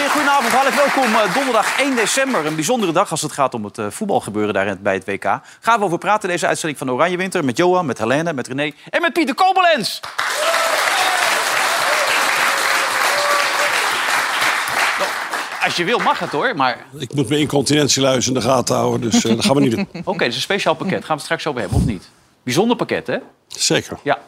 Hartelijk welkom eh, donderdag 1 december. Een bijzondere dag als het gaat om het eh, voetbalgebeuren daar in het- bij het WK. Gaan we over praten in deze uitzending van Oranje Winter. Met Johan, met Helene, met René en met Pieter Kobelens. Nou, Als je wil mag het hoor, maar Ik moet mijn incontinentieluis in de gaten houden, dus eh, dat gaan we niet doen. oké, dat is een speciaal pakket. Gaan we het straks over hebben, of niet? Bijzonder pakket, hè? Zeker. Ja,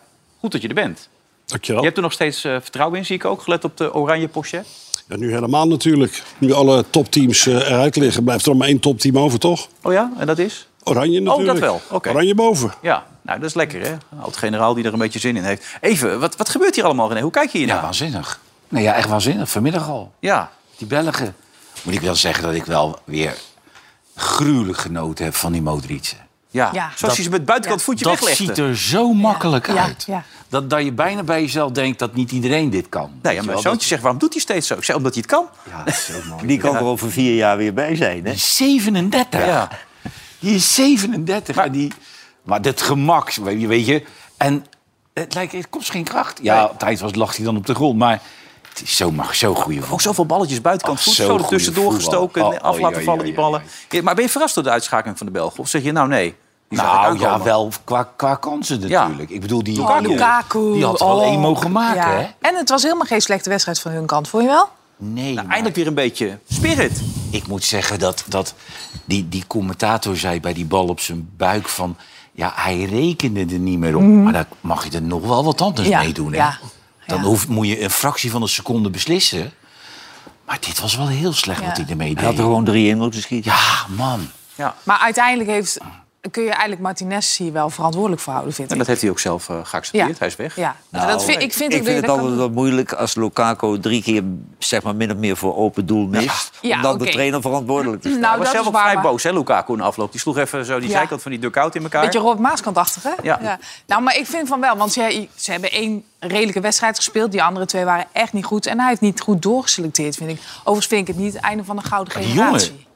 goed dat je er bent. Dankjewel. Je hebt er nog steeds eh, vertrouwen in, zie ik ook, gelet op de oranje postje. Ja, nu helemaal natuurlijk. Nu alle topteams eh, eruit liggen, blijft er nog maar één topteam over, toch? Oh ja, en Oh, dat is? Oranje natuurlijk. wel. Oké. Oranje boven. Ja, nou, dat is lekker, hè? Oud-generaal die er een beetje zin in heeft. Even, wat, wat gebeurt hier allemaal, René? Hoe kijk je Ja, hiernaar? waanzinnig. Nee, ja, echt waanzinnig. Vanmiddag al. Ja, Die Belgen. Moet ik wel zeggen dat ik wel weer gruwelijk genoten heb van die Modric. ja. Ja. Zoals je ze met het buitenkant voetje Dat weglegde. ziet er zo makkelijk Ja, uit. ja. Dat, dat je bijna bij jezelf denkt dat niet iedereen dit kan. Nee, Weet ja, je mijn wel, zoontje zegt, waarom doet hij steeds zo? Ik zei, omdat hij het kan. dat- Ja, dat is zo mooi. Die kan er over vier jaar weer bij zijn, hè? Die is 37. Ja. Die is 37. Maar- Maar, die, maar dat gemak, weet je, weet je. En het lijkt, het kost geen kracht. Ja, op tijd was, lag hij dan op de grond. Maar het is zo'n zo goede Ook zoveel balletjes buitenkant Ach, voet, zo'n zo goede ertussen voetbal. doorgestoken, Oh, af oh, laten ja, vallen, ja, die ja, ballen. ja, Ja, Maar ben je verrast door de uitschakeling van de Belgen? Of zeg je, nou nee? die zag ik Nou aankomen? ja, wel qua, qua kansen Ja. natuurlijk. Ik bedoel, die, Oh, die- Lukaku. die had er wel Oh. één mogen maken, Ja. hè? En het was helemaal geen slechte wedstrijd van hun kant, vond je wel? Nee, Nou, maar eindelijk weer een beetje spirit. ik moet zeggen dat, dat die, die commentator zei bij die bal op zijn buik van... Ja, hij rekende er niet meer op. Maar dan mag je er nog wel wat anders Mhm. Ja, mee doen, hè? ja, Dan ja. hoeft, moet je een fractie van een seconde beslissen. Maar dit was wel heel slecht Ja. wat hij ermee Hij had er deed. gewoon drie in moeten schieten. Ja, man. Ja. Maar uiteindelijk heeft, kun je eigenlijk Martinez hier wel verantwoordelijk voor houden, vind En ik. dat heeft hij ook zelf eh, geaccepteerd. Hij is weg. Ja. Nou, dat vind, ik vind, Nou, ik dat je vind het dat altijd kan- wel moeilijk als Lukaku drie keer zeg maar, min of meer voor open doel mist. Ja, om dan oké. de trainer verantwoordelijk te Nou, Hij was dat zelf is ook waar. vrij maar- boos, hè, Lukaku, in de afloop. Die sloeg even zo die Ja. zijkant van die dugout in elkaar. Beetje Robert Maaskantachtig, hè? Ja. Nou, maar ik vind van wel, want ze, ze hebben één redelijke wedstrijd gespeeld. Die andere twee waren echt niet goed. En hij heeft niet goed doorgeselecteerd, vind ik. Overigens vind ik het niet het einde van de gouden die jongen. generatie.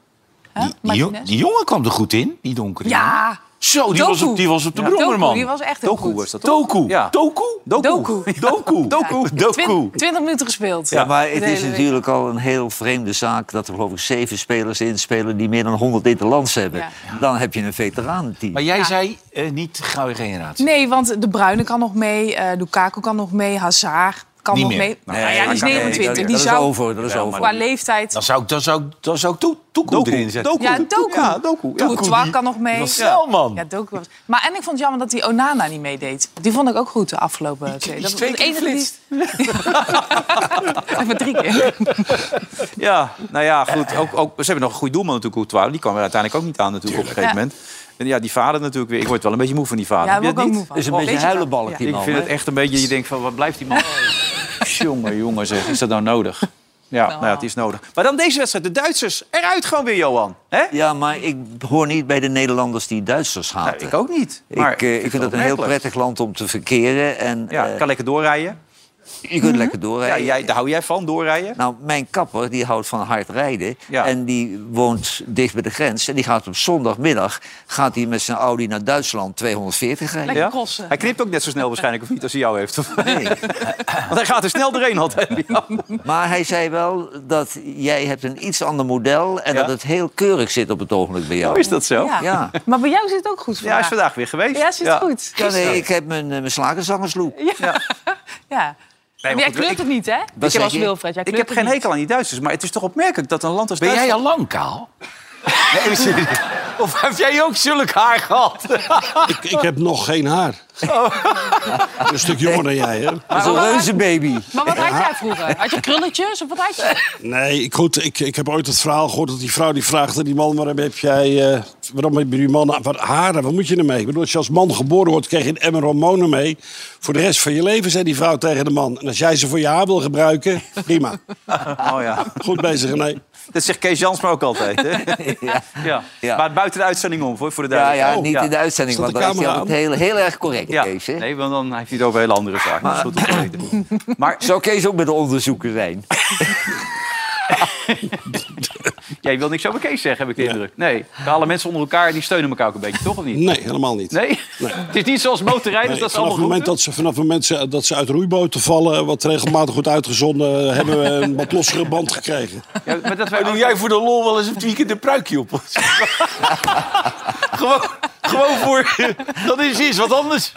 Hè, Die, die, Martinez? jo- die jongen kwam er goed in, die donkere jongen. Ja. Zo, die was, Doku. op, die was op de Ja. brommer, Doku, man. Die was echt heel Doku goed. was dat toch? Doku. Ja. Doku. Doku. Doku. Ja. Doku. Doku. Twint- 20 minuten gespeeld. Ja, maar het De is hele week. natuurlijk al een heel vreemde zaak dat er geloof ik zeven spelers inspelen die meer dan 100 interlands hebben. Ja. Dan heb je een veteranenteam. Maar jij zei eh, niet gouden generatie. Nee, want De Bruyne kan nog mee, eh Lukaku kan nog mee, Hazard kan Niet nog meer. mee. Nou, Nee, ja, die is nee, 29. dat- die dat is zou over, dat is over. qua leeftijd... Dan zou ik, dan zou, ik- dan zou ik toe, Doku, erin zetten. ja, Doku. Ja, Doku. Ja. Courtois kan nog mee. was snel, man. Ja, Doku was... Maar en ik vond het jammer dat die Onana niet meedeed. Die vond ik ook goed de afgelopen twee. die is Dat was twee keer die... Even drie keer. Ja, nou ja, goed. Ook, ook, ze hebben nog een goede doelman natuurlijk, Courtois. Die kwam er uiteindelijk ook niet aan natuurlijk op een gegeven Ja. moment. En ja, die vader natuurlijk weer. Ik word wel een beetje moe van die vader. Ja, Heb je daar dat word ik niet? ook moe van. Het is een Oh, beetje een weet je huilenbalk, wel. die Ik man. vind het hè? echt een beetje, je denkt van, wat blijft die man? jongen, jongen zeg, is dat nou nodig? Ja, nou ja, het is nodig. Maar dan deze wedstrijd, de Duitsers eruit gewoon weer, Johan. Hè? Ja, maar ik hoor niet bij de Nederlanders die Duitsers haten. Nou, ik ook niet. Maar ik, eh, ik vind het een heel prettig land om te verkeren. En, Ja, eh, kan lekker doorrijden. je kunt lekker Ja, doorrijden. jij, daar hou jij van, doorrijden? Nou, mijn kapper die houdt van hard rijden. Ja. En die woont dicht bij de grens. En die gaat op zondagmiddag gaat hij met zijn Audi naar Duitsland 240 rijden. Lekker Ja? crossen. Hij knipt ook net zo snel waarschijnlijk, of niet, als hij jou heeft. Want Nee. hij gaat er snel doorheen altijd. Maar hij zei wel dat jij hebt een iets ander model... en Ja. dat het heel keurig zit op het ogenblik bij jou. Is dat zo? Ja. Ja. Maar bij jou zit het ook goed Ja, hij is vandaag. vandaag weer geweest. Ja, zit goed. Ja, nee, ik heb mijn, eh, mijn slagerzangerslook. Ja. maar Maar jij goed, kleurt ik- het niet, hè? Ik zeg was je? Wilfred. Jij Ik kleurt heb het geen niet. hekel aan die Duitsers, maar het is toch opmerkelijk dat een land als Ben jij Duitsland... al lang kaal? Nee, serieus. of heb jij ook zulk haar gehad? Ah. Ik, ik heb nog geen haar. Oh. Een stuk jonger dan jij, hè? Dat is een reuzenbaby. Maar wat had jij vroeger? Had je krulletjes of wat had je? Nee, ik, goed, ik, ik heb ooit het verhaal gehoord dat die vrouw die vraagt aan die man... waarom heb jij, eh, waarom heb je die man wat haren? Wat moet je ermee? Ik bedoel, als je als man geboren wordt, krijg je een emmer hormonen mee. Voor de rest van je leven, zei die vrouw tegen de man. En als jij ze voor je haar wil gebruiken, prima. Oh ja. Goed bezig, nee. Dat zegt Kees Jansma ook altijd. Hè? ja. Ja. Maar buiten de uitzending om, voor, voor de Ja, duidelijkheid. ja, niet in de uitzending, Staat want de dan is hij camera altijd heel, heel erg correct, Oh, Ja. Kees. Hè? Nee, want dan heeft hij het over hele andere zaken. Maar, dat is goed om te weten. maar Zou Kees ook met de onderzoeker zijn? Jij wil niks over Kees zeggen, heb ik de indruk. Nee, de alle mensen onder elkaar die steunen elkaar ook een beetje, toch? Of niet? Nee, helemaal niet. Nee? Het is niet zoals motorrijders, Nee, dat is vanaf allemaal het moment goed. dat ze, vanaf het moment ze- dat ze uit roeiboten vallen, wat regelmatig wordt uitgezonden, eh, hebben we een wat lossere band gekregen. Ja, maar dat wij Doe jij voor de lol wel eens een weekend een pruikje op? gewoon, gewoon voor... dat is iets wat anders.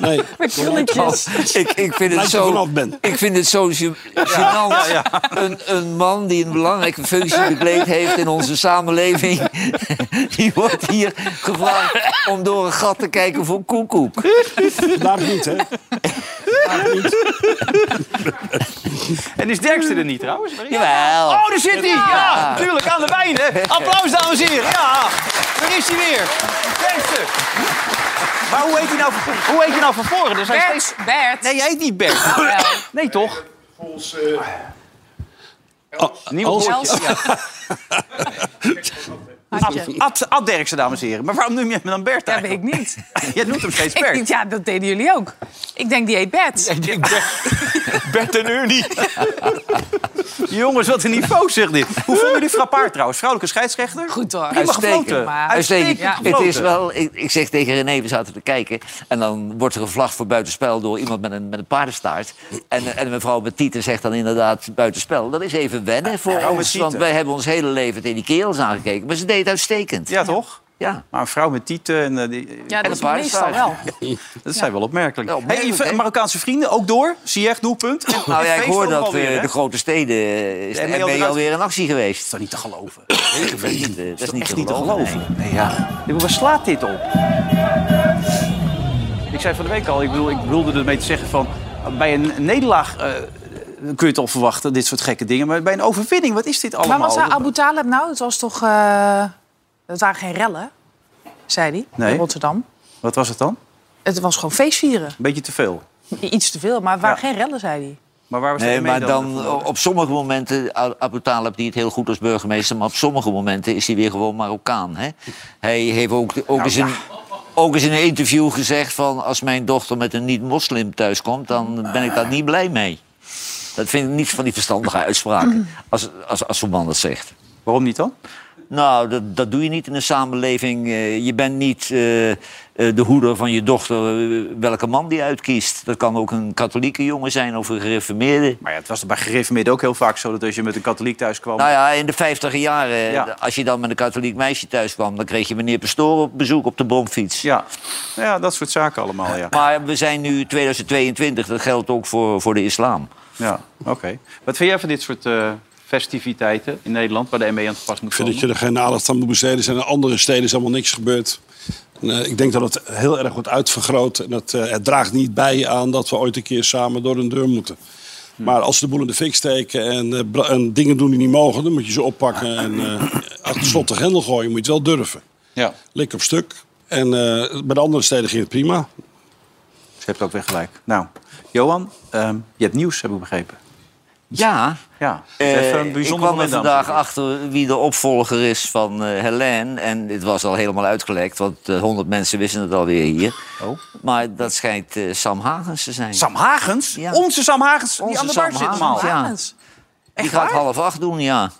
Nee, Met krulletjes. Ik, ik vind het Lijkt er zo. vanaf, Ben. Ik vind het zo gen- gênant. Een, een man die een belangrijke functie bekleed heeft in onze samenleving. die wordt hier gevraagd om door een gat te kijken voor koekoek. vandaag niet, hè? En is Derksen er niet trouwens? Jawel. Oh, daar zit hij! Ja, natuurlijk, aan de wijn, hè? Applaus, dames en heren. Ja, daar is hij weer. Derksen. Maar hoe heet hij nou van, hoe heet hij nou van voren? Er zijn steeds... Bert, Bert. Nee, jij heet niet Bert. Nee, toch? Volgens eh, Niemand hoort je. Els. Had je. Ad, Ad Derksen, dames en heren. Maar waarom noem je hem dan Bert Dat weet ik eigenlijk? niet. Jij noemt hem steeds Ik Bert. denk, ja, dat deden jullie ook. Ik denk, die eet Bert. Ik denk Bert, Bert en Ernie. Jongens, wat een niveau zegt dit. Hoe vonden jullie Frappaard trouwens? Vrouwelijke scheidsrechter? Goed hoor. Prima gefloten. Maar- Uitstekend. Ja. Het is gefloten. wel, ik, ik zeg tegen René, we zaten te kijken. En dan wordt er gevlacht voor buitenspel door iemand met een, met een paardenstaart. En, en mevrouw met tieten zegt dan inderdaad buitenspel. Dat is even wennen voor Vrouw met ons. Want tieten. wij hebben ons hele leven tegen die kerels aangekeken. Maar ze deed het uitstekend. Ja, toch? Ja. Maar een vrouw met tieten en... eh, die, Ja, dat een is paar meestal staan. wel. Dat zijn wel opmerkelijk. Ja, opmerkelijk, Hey, even hè? Marokkaanse vrienden, ook door. Ziyech, doelpunt. En Nou ja, ik feest hoor ook dat alweer, eh, hè? de grote steden eh, is De de NL ME eruit- alweer in actie geweest. eh, Dat is toch niet te geloven? Dat is, niet echt te niet te geloven, geloven. nee. Nee, ja. Ik bedoel, Waar slaat dit op? Ik zei van de week al, ik, bedoel, ik bedoelde ermee te zeggen van... bij een nederlaag eh, kun je het al verwachten, dit soort gekke dingen. Maar bij een overwinning, wat is dit allemaal? Maar was daar Abu Talib nou? Het was toch... eh, dat waren geen rellen, zei hij, Nee. in Rotterdam. Wat was het dan? Het was gewoon feestvieren. Een beetje te veel. I- Iets te veel, maar het waren Ja. geen rellen, zei hij. Maar waar was Nee, het mee maar dan op sommige momenten, A- Abu Talib die het heel goed als burgemeester, maar op sommige momenten is hij weer gewoon Marokkaan. Hè? Hij heeft ook, ook, Nou eens in, ook eens in een interview gezegd van als mijn dochter met een niet-moslim thuiskomt, dan ben ik daar niet blij mee. Dat vind ik niets van die verstandige uitspraken, als, als, als zo'n man dat zegt. Waarom niet dan? Nou, dat, dat doe je niet in een samenleving. Eh, je bent niet eh, eh, de hoeder van je dochter, eh, welke man die uitkiest. Dat kan ook een katholieke jongen zijn of een gereformeerde. Maar ja, het was bij gereformeerd ook heel vaak zo... dat als je met een katholiek thuis kwam... Nou ja, in de vijftiger jaren, eh, Ja. als je dan met een katholiek meisje thuis kwam... dan kreeg je meneer Pastoor op bezoek op de bromfiets. ja. ja, dat soort zaken allemaal, ja. Maar we zijn nu 2022, dat geldt ook voor, voor de islam. Ja, oké. Wat vind jij van dit soort eh, festiviteiten in Nederland... waar de ME aan te pas moet Ik vind komen? dat je er geen aandacht aan moet besteden. Er zijn in andere steden is allemaal niks gebeurd. En, eh, ik denk dat het heel erg wordt uitvergroot. En dat, eh, het draagt niet bij aan dat we ooit een keer samen door een deur moeten. Maar als ze de boel in de fik steken en, eh, bra- en dingen doen die niet mogen... dan moet je ze oppakken en eh, achter slot de grendel gooien. Moet je het wel durven. Ja, Lik op stuk. En eh, bij de andere steden ging het prima. ze hebt ook weer gelijk. Nou, Johan, ehm, je hebt nieuws, heb ik begrepen. Ja, Ja, eh, even een ik bijzonder kwam er moment, dames en vandaag heren. achter wie de opvolger is van eh Helene. En dit was al helemaal uitgelekt, want eh, 100 mensen wisten het alweer hier. Oh. Maar dat schijnt eh, Sam Hagens te zijn. Sam Hagens? Ja. Onze Sam Hagens, die Onze aan de Sam bar zit Hagens, normaal. Ja. Wagens. Die gaat half acht doen, ja.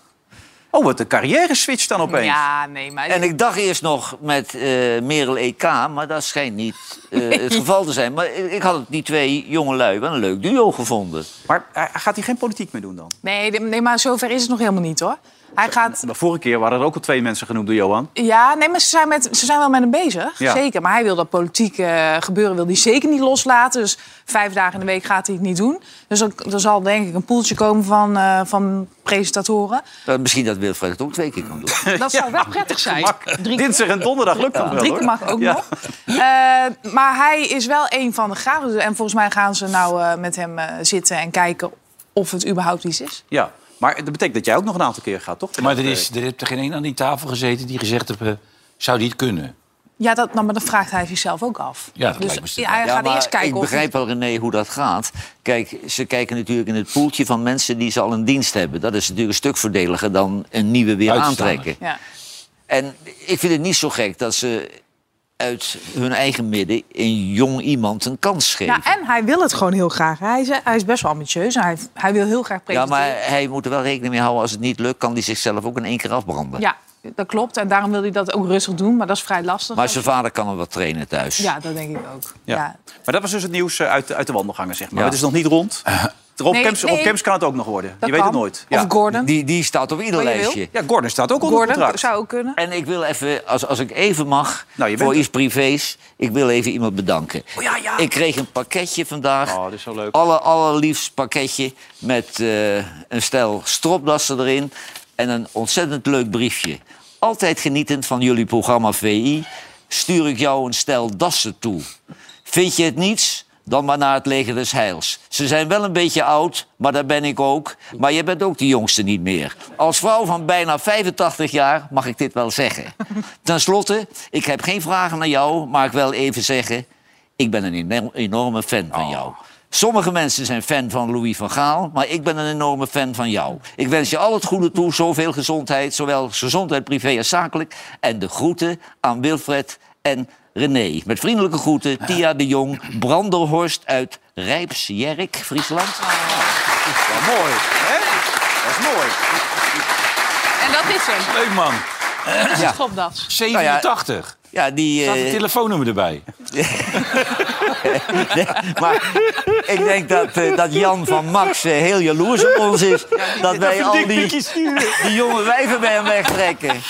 Oh, wat een carrière-switch dan opeens. Ja, nee, maar... En ik dacht eerst nog met eh, Merel EK, maar dat schijnt niet eh, het geval te zijn. Maar ik, ik had het die twee jonge lui wel een leuk duo gevonden. Maar eh, gaat hij geen politiek meer doen dan? Nee, de- nee, maar zover is het nog helemaal niet, hoor. Hij gaat... De vorige keer waren er ook al twee mensen genoemd door Johan. Ja, nee, maar ze zijn, met, ze zijn wel met hem bezig. Ja. Zeker. Maar hij wil dat politiek eh, gebeuren wil hij zeker niet loslaten. Dus vijf dagen in de week gaat hij het niet doen. Dus dan- er zal denk ik een poeltje komen van, eh, van presentatoren. Dat, misschien dat Wilfred het ook twee keer kan doen. Dat zou wel prettig zijn. Drie keer. Dinsdag en donderdag lukt dat wel, Drie keer hoor. mag ook Ja. nog. Eh, maar hij is wel een van de graven. En volgens mij gaan ze nou eh, met hem eh, zitten en kijken of het überhaupt iets is. Ja, maar dat betekent dat jij ook nog een aantal keer gaat, toch? Maar er, is, er heeft er geen een aan die tafel gezeten die gezegd heeft... eh, zou die het kunnen? Ja, dat, nou, maar dat vraagt hij zichzelf ook af. Ja, dat dus lijkt me stuk. ja, hij Ja, gaat maar eerst kijken ik of... begrijp wel, René, hoe dat gaat. Kijk, ze kijken natuurlijk in het poeltje van mensen die ze al in dienst hebben. Dat is natuurlijk een stuk voordeliger dan een nieuwe weer Uitstaande. aantrekken. Ja. En ik vind het niet zo gek dat ze uit hun eigen midden een jong iemand een kans geven. Ja, en hij wil het gewoon heel graag. Hij is, hij is best wel ambitieus. en Hij, hij wil heel graag Ja, presenteren. maar hij moet er wel rekening mee houden. Als het niet lukt, kan hij zichzelf ook in één keer afbranden. Ja, dat klopt. En daarom wil hij dat ook rustig doen. Maar dat is vrij lastig. Maar zijn vader kan hem wat trainen thuis. Ja, dat denk ik ook. Ja. Ja. Maar dat was dus het nieuws eh, uit, de- uit de wandelgangen, zeg maar. Ja. Eh. Het is nog niet rond. Rob, Nee, Kemps, Rob nee. Kemps kan het ook nog worden. Dat je weet kan. het nooit. Ja. Of Gordon. Die, die staat op Maar ieder Oh, je wil? lijstje. ja, Gordon staat ook onder Gordon contract. zou ook kunnen. En ik wil even, als, als ik even mag, Nou, je bent voor er. iets privés... ik wil even iemand bedanken. Oh, ja, ja. Ik kreeg een pakketje vandaag. Oh, dit is zo leuk. Alle, allerliefst pakketje met eh, een stel stropdassen erin... en een ontzettend leuk briefje. Altijd genietend van jullie programma VI... stuur ik jou een stel dassen toe. Vind je het niets? Dan maar naar het leger des heils. Ze zijn wel een beetje oud, maar dat ben ik ook. Maar je bent ook de jongste niet meer. Als vrouw van bijna 85 jaar mag ik dit wel zeggen. Ten slotte, ik heb geen vragen naar jou, maar ik wil even zeggen... ik ben een enorm- enorme fan van jou. Sommige mensen zijn fan van Louis van Gaal, maar ik ben een enorme fan van jou. Ik wens je al het goede toe, zoveel gezondheid, zowel gezondheid privé als zakelijk. En de groeten aan Wilfred en René. Met vriendelijke groeten, Tia de Jong, Branderhorst uit Rijpsjerk, Friesland. Ja, mooi. Hè? Dat is mooi. En dat is hem. Leuk man. Ja. Stropdas. Nou 87. Ja, die... Staat het eh, telefoonnummer erbij. maar ik denk dat, eh, dat Jan van Max eh, heel jaloers op ons is. dat wij al die, die jonge wijven bij hem wegtrekken.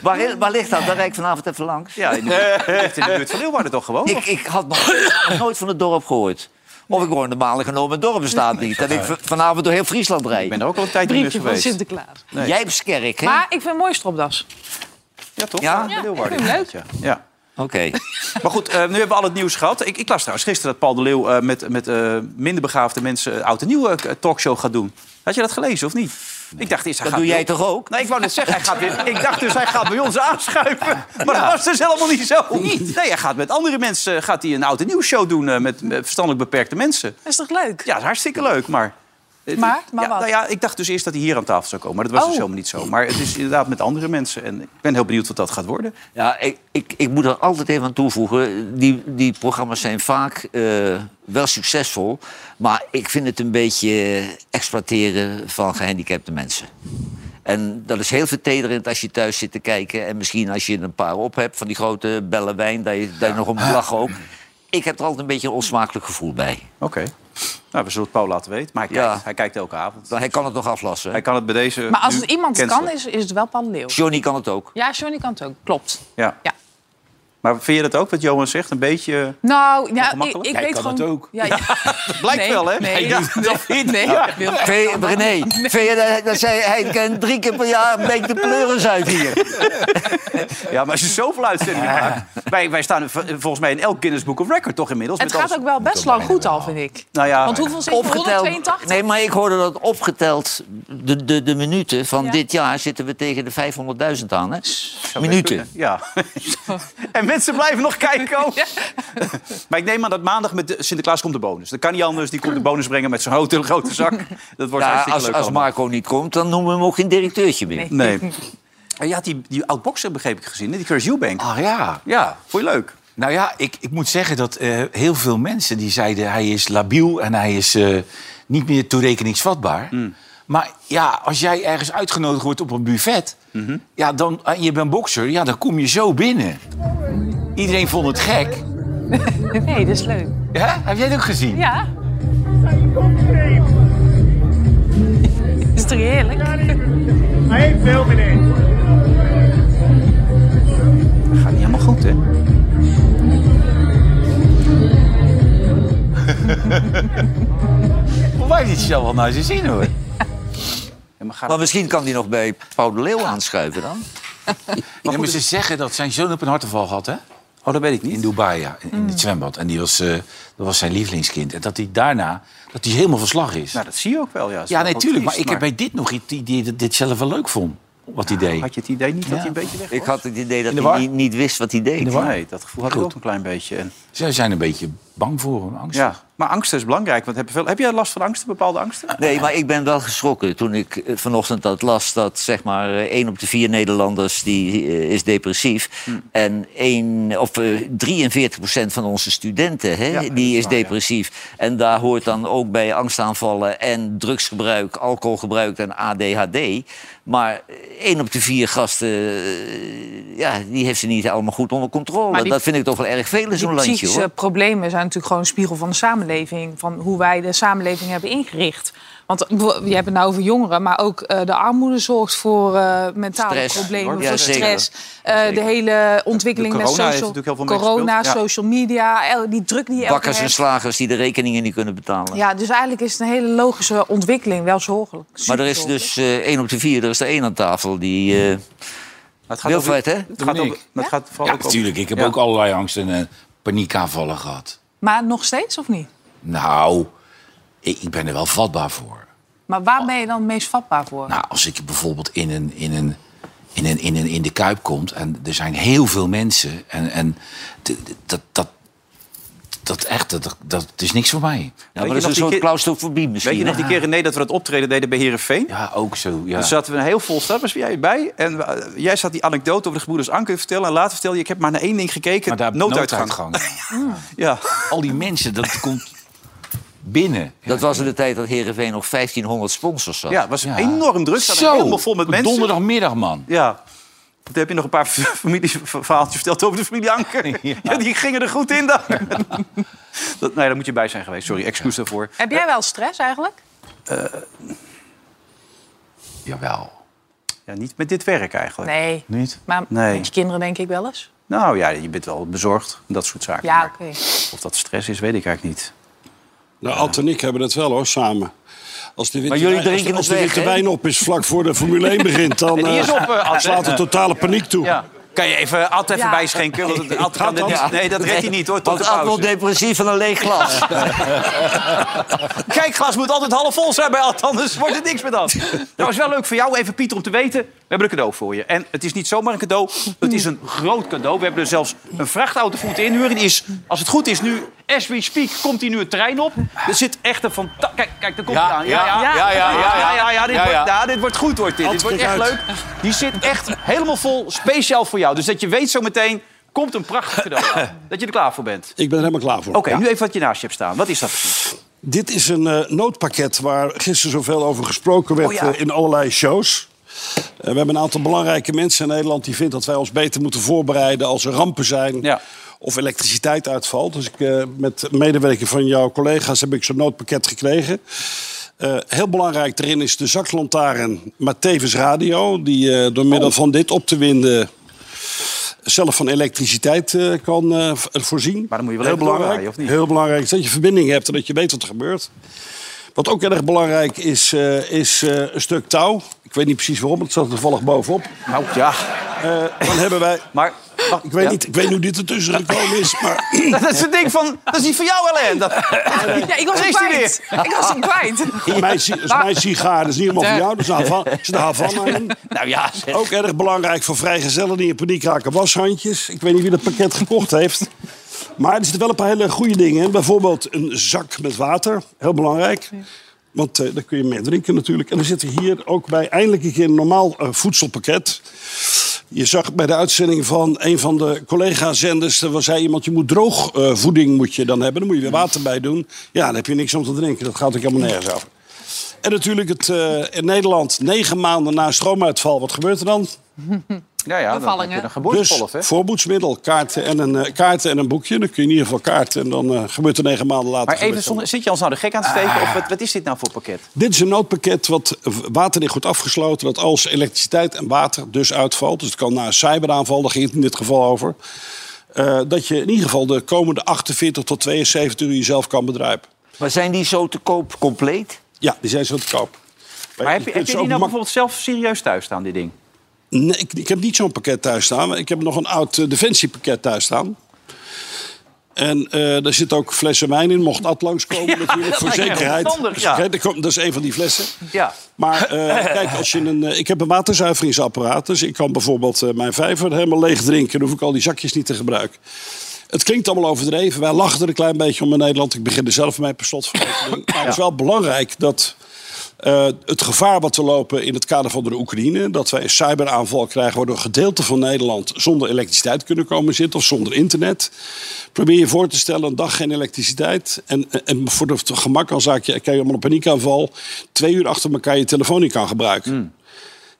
waar, waar ligt dat? Daar rijd ik vanavond even langs. Ja, in de, ligt in de buurt van Leeuwarden toch gewoon? Ik, ik had nog nog nooit van het dorp gehoord. Of ik hoor normaal genomen, het dorp bestaat niet. Dat ik v- vanavond door heel Friesland Ik rijd. ben er ook al een tijd niet meer Briefje van geweest. Sinterklaas. Jijpskerk, hè? Maar ik vind een mooie stropdas. Ja, toch? Ja? bij Ja, Leeuwarden. ik vind hem leuk. Ja. ja. Oké. Maar goed, eh, nu hebben we al het nieuws gehad. Ik, ik las trouwens gisteren dat Paul de Leeuw eh, met, met eh, minder begaafde mensen... een oud en nieuw eh, talkshow gaat doen. Had je dat gelezen of niet? Ik dacht eerst... hij Dat gaat doe jij bij- toch ook? Nee, ik wou net zeggen, hij gaat weer, ik dacht dus hij gaat bij ons aanschuiven. Maar dat was dus helemaal niet zo. Nee, hij gaat met andere mensen eh, gaat hij een oud en nieuw show doen eh, met, met verstandelijk beperkte mensen. Dat is toch leuk? Ja, dat is hartstikke leuk, maar... Maar? Maar ja, wat? Nou ja, ik dacht dus eerst dat hij hier aan tafel zou komen. Maar dat was Oh. dus helemaal niet zo. Maar het is inderdaad met andere mensen. En ik ben heel benieuwd wat dat gaat worden. Ja, ik, ik, ik moet er altijd even aan toevoegen. Die, die programma's zijn vaak eh, wel succesvol. Maar ik vind het een beetje exploiteren van gehandicapte mensen. En dat is heel vertederend als je thuis zit te kijken. En misschien als je er een paar op hebt van die grote bellen wijn. Daar je, daar je nog om moet lachen ook. Ik heb er altijd een beetje een onsmakelijk gevoel bij. Oké. Nou, we zullen het Paul laten weten. Maar hij Ja. kijkt, hij kijkt elke avond. Maar hij kan het nog aflassen. Hij kan het bij deze Maar als nu het iemand cancelen. kan, is, is het wel Paul de Leeuw. Johnny kan het ook. Ja, Johnny kan het ook. Klopt. Ja. Ja. Maar vind je dat ook, wat Johan zegt? Een beetje... Nou, ja, ik, Ongemakkelijk? ik Jij weet kan gewoon... het ook. Ja, ja. Blijkt Nee, wel, hè? Nee, ja. nee, Wil- Vind je- René, vind je dat, dat zij, hij kent drie keer per jaar een beetje de pleuris uit hier. Ja, maar als je zoveel uitzendingen maakt... Wij, wij staan v- volgens mij in elk Guinness Book of Record toch inmiddels. Het met gaat alles- ook wel best lang goed al, vind ik. Nou ja, Want hoeveel zit er? 182? Ah, Nee, maar ik hoorde dat opgeteld, de, de, de minuten van Ja. dit jaar zitten we tegen de 500.000 aan. Hè? Minuten. eh, Ja. en mensen blijven nog kijken ook. Maar ik neem aan dat maandag met de- Sinterklaas komt de bonus. Dat kan niet anders. Die komt de bonus brengen met zijn grote, grote zak. Dat wordt hartstikke Ja, als, leuk als allemaal. Marco niet komt, dan noemen we hem ook geen directeurtje meer. Nee. En je had die, die oud-boxer, begreep ik, gezien. hè? Die Chris Eubank. Ah ja. Ja, vond je leuk? Nou ja, ik, ik moet zeggen dat eh, heel veel mensen die zeiden... hij is labiel en hij is eh, niet meer toerekeningsvatbaar. Maar ja, als jij ergens uitgenodigd wordt op een buffet... Ja, dan, en je bent bokser, ja, dan kom je zo binnen. Iedereen vond het gek. Nee, dat is leuk. Ja? Heb jij het ook gezien? Ja. Is het heerlijk? Hij veel meneer. Gaat niet helemaal goed, hè? Volgens mij heeft hij het wel naar zijn zin, hoor. Ja, maar gaat... Maar misschien kan die nog bij Paul de Leeuw aanschuiven dan. Ja, maar ze zeggen dat zijn zoon op een hartaanval had, hè? Oh, dat weet ik In niet. Mm. Dubai, ja, in, in het zwembad. En die was, eh, dat was zijn lievelingskind. En dat hij daarna dat hij helemaal verslag is. Nou, dat zie je ook wel, ja. Dat is ja, wel nee, wat tuurlijk. Maar triest, ik heb bij dit nog iets die, die dit zelf wel leuk vond. Wat hij deed. Had je het idee niet dat Ja. hij een beetje weg was? Ik had het idee In de dat war? hij niet, niet wist wat hij deed. Nee, dat gevoel had ik Goed. ook een klein beetje. En Zij zijn een beetje bang voor hem, angst. Ja. Maar angsten is belangrijk. Want heb, je veel, heb jij last van angsten, bepaalde angsten? Nee, maar ik ben wel geschrokken toen ik eh, vanochtend dat las... dat zeg maar eh, één op de vier Nederlanders die, eh, is depressief. Hmm. En één, of, eh, 43 van onze studenten hè, Ja, dat is die is waar, ja. depressief. En daar hoort dan ook bij angstaanvallen en drugsgebruik... alcoholgebruik en ADHD. Maar eh, één op de vier gasten, eh, ja, die heeft ze niet allemaal goed onder controle. Maar die- dat vind ik toch wel erg veel in Die zo'n landje, psychische eh, hoor. problemen zijn natuurlijk gewoon een spiegel van de samenleving. Van hoe wij de samenleving hebben ingericht. Want eh, we- je hebt het nou over jongeren, maar ook eh, de armoede zorgt voor eh, mentale Stress, problemen, hoor. voor Ja, zeker. stress. Eh, de hele ontwikkeling De met corona heeft social, natuurlijk heel veel corona, meegespeeld, ja. social media, el- die druk die je elke Bakkers en hebt. slagers die de rekeningen niet kunnen betalen. Ja, dus eigenlijk is het een hele logische ontwikkeling, wel zorgelijk. Maar er is superzorgelijk. dus eh, één op de vier, er is er één aan tafel die... eh, Maar het Wilfred, hè? Het gaat, over, Dominique. maar het gaat vooral Ja, ook over- natuurlijk. Ik heb Ja. ook allerlei angsten en eh, paniekaanvallen gehad. Maar nog steeds of niet? Nou, ik, ik ben er wel vatbaar voor. Maar waar ben je dan het meest vatbaar voor? Nou, als ik bijvoorbeeld in, een, in, een, in, een, in, een, in de Kuip komt... en er zijn heel veel mensen... en, en d- d- dat, dat, dat echt, dat, dat, dat is niks voor mij. Ja, Weet maar je dat is nog een die soort keer- claustrofobie Weet misschien. je nog hè? die keer René dat we dat optreden deden bij Herenveen? Ja, ook zo. Ja. Toen zaten we een heel vol stad, was jij bij. En eh, jij zat die anekdote over de gebroeders Anker te vertellen. En later vertelde je, ik heb maar naar één ding gekeken. maar daar nooduitgang. nooduitgang. Ja. Al die mensen, dat komt binnen. Dat was in de tijd dat Heerenveen nog 1500 sponsors had. ja, het was Ja. enorm druk. Zat helemaal vol met mensen. Donderdagmiddag, man. Ja. Toen heb je nog een paar familie- verhaaltjes verteld over de familie Anker. Ja. die gingen er goed in dan. dat, nee, daar moet je bij zijn geweest. Sorry, excuus daarvoor. Heb jij wel stress eigenlijk? Jawel. Ja, niet met dit werk eigenlijk. Nee. Niet? Maar Nee. met je kinderen denk ik wel eens. Nou ja, je bent wel bezorgd. Dat soort zaken. Ja, Maar oké. Of dat stress is, weet ik eigenlijk niet. Nou, Ad en ik hebben dat wel hoor, samen. Als de witte, Maar jullie wijn- als de- drinken als het de weg, witte hè? wijn op is vlak voor de Formule 1 begint, dan dus En die is eh, op, eh, Ad, hè? slaat de totale paniek toe. Ja. Kan je even Ad even Ja. bijschenken? Want Ad kan dit niet. Nee, dat redt hij niet hoor. Tot Want de Ad wordt pauze. depressief van een leeg glas. Kijkglas moet altijd half vol zijn bij Ad, anders wordt het niks met Ad. Dat was wel leuk voor jou, even Pieter, om te weten. We hebben een cadeau voor je. En het is niet zomaar een cadeau, het is een groot cadeau. We hebben er zelfs een vrachtauto voor te inhuren. Die is, als het goed is nu, as we speak, komt hier nu een trein op. Er zit echt een fantastisch... Kijk, kijk, daar komt hij Ja, aan. ja, ja, ja, ja, ja, ja. ja, ja, dit Ja, ja. wordt- ja, dit wordt goed, wordt dit. Dit wordt kijk echt uit. leuk. Die zit echt helemaal vol, speciaal voor jou. Dus dat je weet zo meteen, komt een prachtig cadeau aan. Dat je er klaar voor bent. Ik ben er helemaal klaar voor. Oké, nu even wat je naast je hebt staan. Wat is dat precies? Dit is een eh, noodpakket waar gisteren zoveel over gesproken werd Oh ja. eh, in allerlei shows. Eh, we hebben een aantal belangrijke mensen in Nederland die vinden dat wij ons beter moeten voorbereiden als er rampen zijn. Ja. Of elektriciteit uitvalt. Dus ik, eh, met medewerking van jouw collega's heb ik zo'n noodpakket gekregen. Eh, heel belangrijk erin is de zaklantaarn, maar tevens radio. Die eh, door middel Oh. van dit op te winden zelf van elektriciteit eh, kan eh, v- voorzien. Maar dan moet je wel heel even belangrijk. doorwaaien, of niet? Heel belangrijk is dat je verbinding hebt en dat je weet wat er gebeurt. Wat ook erg belangrijk is, eh, is eh, een stuk touw. Ik weet niet precies waarom, het staat er toevallig bovenop. Nou ja, Eh, dan hebben wij... maar... Ik weet, niet, ik weet niet hoe dit ertussen gekomen is, maar... Dat is het ding van, dat is niet voor jou alleen. Dat, Ja, ik Daar was is hem hij kwijt. Ik was hem kwijt. Mijn, si- is mijn sigaar dat is niet helemaal van jou, dat is een Havana- is een Havana in. nou ja, zeg. Ook erg belangrijk voor vrijgezellen die in paniek raken. Washandjes. Ik weet niet wie dat pakket gekocht heeft. Maar er zitten wel een paar hele goede dingen in. Bijvoorbeeld een zak met water. Heel belangrijk. Want eh, daar kun je mee drinken natuurlijk. En we zitten hier ook bij eindelijk een keer een normaal eh, voedselpakket. Je zag bij de uitzending van een van de collega-zenders... er was zei iemand, je moet droogvoeding voeding moet je dan hebben. Dan moet je weer water bij doen. Ja, dan heb je niks om te drinken. Dat gaat ook helemaal nergens over. En natuurlijk het, eh, in Nederland negen maanden na stroomuitval. Wat gebeurt er dan? ja, ja, dan heb je Bevallingen. een Dus geboortespolf, hè? voorboedsmiddel, kaarten en, een, eh, kaarten en een boekje. Dan kun je in ieder geval kaarten en dan eh, gebeurt er negen maanden later. Maar even, gebeurt zonder, zit je ons nou de gek aan het Ah. steken? Of wat, wat is dit nou voor pakket? Dit is een noodpakket wat waterdicht wordt afgesloten. Dat als elektriciteit en water dus uitvalt. Dus het kan na een cyberaanval, daar ging het in dit geval over. eh, dat je in ieder geval de komende 48 tot 72 uur jezelf kan bedruipen. Maar zijn die zo te koop compleet? Ja, die zijn zo te koop. Maar heb je, heb kunt je ze die nou ook mak- bijvoorbeeld zelf serieus thuis staan, dit ding? Nee, ik, ik heb niet zo'n pakket thuis staan. maar Ik heb nog een oud eh, defensiepakket thuis staan. En eh daar zit ook flessen wijn in, mocht dat langskomen natuurlijk, dat voor lijkt me zekerheid. verstandig, ja. Kijk, er komt- Dat is een van die flessen. Ja. Maar eh, kijk, als je een, eh, ik heb een waterzuiveringsapparaat, dus ik kan bijvoorbeeld eh, mijn vijver helemaal leeg drinken. Dan hoef ik al die zakjes niet te gebruiken. Het klinkt allemaal overdreven. Wij lachen er een klein beetje om in Nederland. Ik begin er zelf mee per slot van. Maar het is wel belangrijk dat eh, het gevaar wat we lopen in het kader van de Oekraïne... dat wij een cyberaanval krijgen waardoor gedeelten van Nederland... zonder elektriciteit kunnen komen zitten of zonder internet. Probeer je voor te stellen, een dag geen elektriciteit. En, en voor het gemak al zaak je, krijg je allemaal een paniekaanval. Twee uur achter elkaar je telefoon niet kan gebruiken.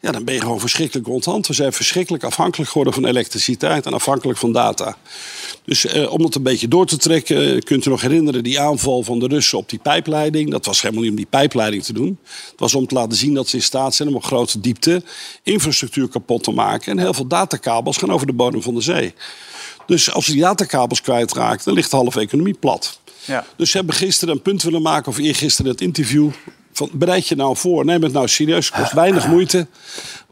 Ja, dan ben je gewoon verschrikkelijk onthand. We zijn verschrikkelijk afhankelijk geworden van elektriciteit en afhankelijk van data. Dus eh, om dat een beetje door te trekken, eh, kunt u nog herinneren die aanval van de Russen op die pijpleiding. Dat was helemaal niet om die pijpleiding te doen. Het was om te laten zien dat ze in staat zijn om op grote diepte infrastructuur kapot te maken. En heel veel datakabels gaan over de bodem van de zee. Dus als ze die datakabels kwijtraakt, dan ligt de halve economie plat. Ja. Dus ze hebben gisteren een punt willen maken, of eergisteren het interview. Van, bereid je nou voor, neem het nou serieus, kost weinig moeite.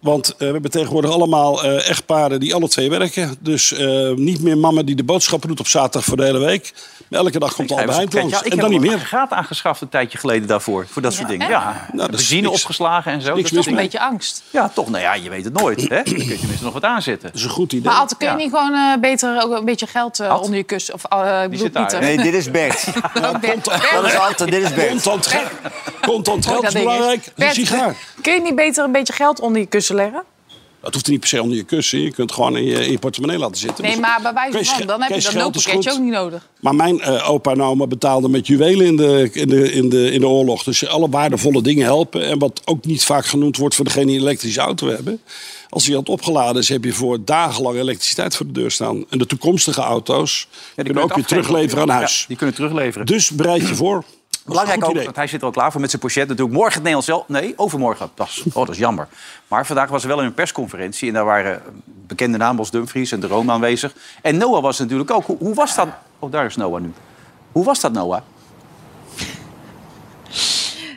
Want eh, we hebben tegenwoordig allemaal eh, echtparen die alle twee werken. Dus eh, niet meer mama die de boodschappen doet op zaterdag voor de hele week. Maar elke dag komt al Ja, bij langs. ik en heb dan niet een meer. Nou, graad aangeschaft een tijdje geleden daarvoor. Voor dat soort dingen. echt? Ja, dat is benzine niks- opgeslagen en zo. niks dat mis soort Een dingen. beetje angst. Ja, toch. Nou ja, je weet het nooit. Hè? Dan kun je tenminste nog wat aanzetten. Dat is een goed idee. Maar altijd kun je Ja. niet gewoon eh, beter ook een beetje geld eh, onder je kussen. Of eh ik bedoel zit daar, Pieter. hè? Nee, dit is Bert. Ook Bert. Dat is Bert, altijd, dit is Bert. Contant, geld- contant Oh, dat geld is ding is. belangrijk. Een Bert, sigaar. Kun je niet beter een beetje geld onder je kussen leggen? Dat hoeft niet per se onder je kussen. Je kunt het gewoon in je, in je portemonnee laten zitten. Nee, Dus- maar bij wijze Kees van, Ge- dan heb je Kees dat Geld is noodpakketje goed. ook niet nodig. Maar mijn eh, opa en oma betaalden met juwelen in de, in, de, in, de, in de oorlog. Dus alle waardevolle dingen helpen. En wat ook niet vaak genoemd wordt voor degene die een elektrische auto hebben. Als die had opgeladen is, heb je voor dagenlang elektriciteit voor de deur staan. En de toekomstige auto's Ja, kunnen ook je weer het terugleveren aan afgeven. huis. Ja, die kunnen terugleveren. Dus bereid je voor. Dat is een Belangrijk goed ook, idee. want hij zit er al klaar voor met zijn pochet. Natuurlijk morgen het Nederlands zelf. Nee, overmorgen. Dat is, oh, dat is jammer. Maar vandaag was er wel een persconferentie. En daar waren bekende namen als Dumfries en de Roon aanwezig. En Noah was natuurlijk ook. Hoe, hoe was dat? Oh, daar is Noah nu. Hoe was dat, Noah?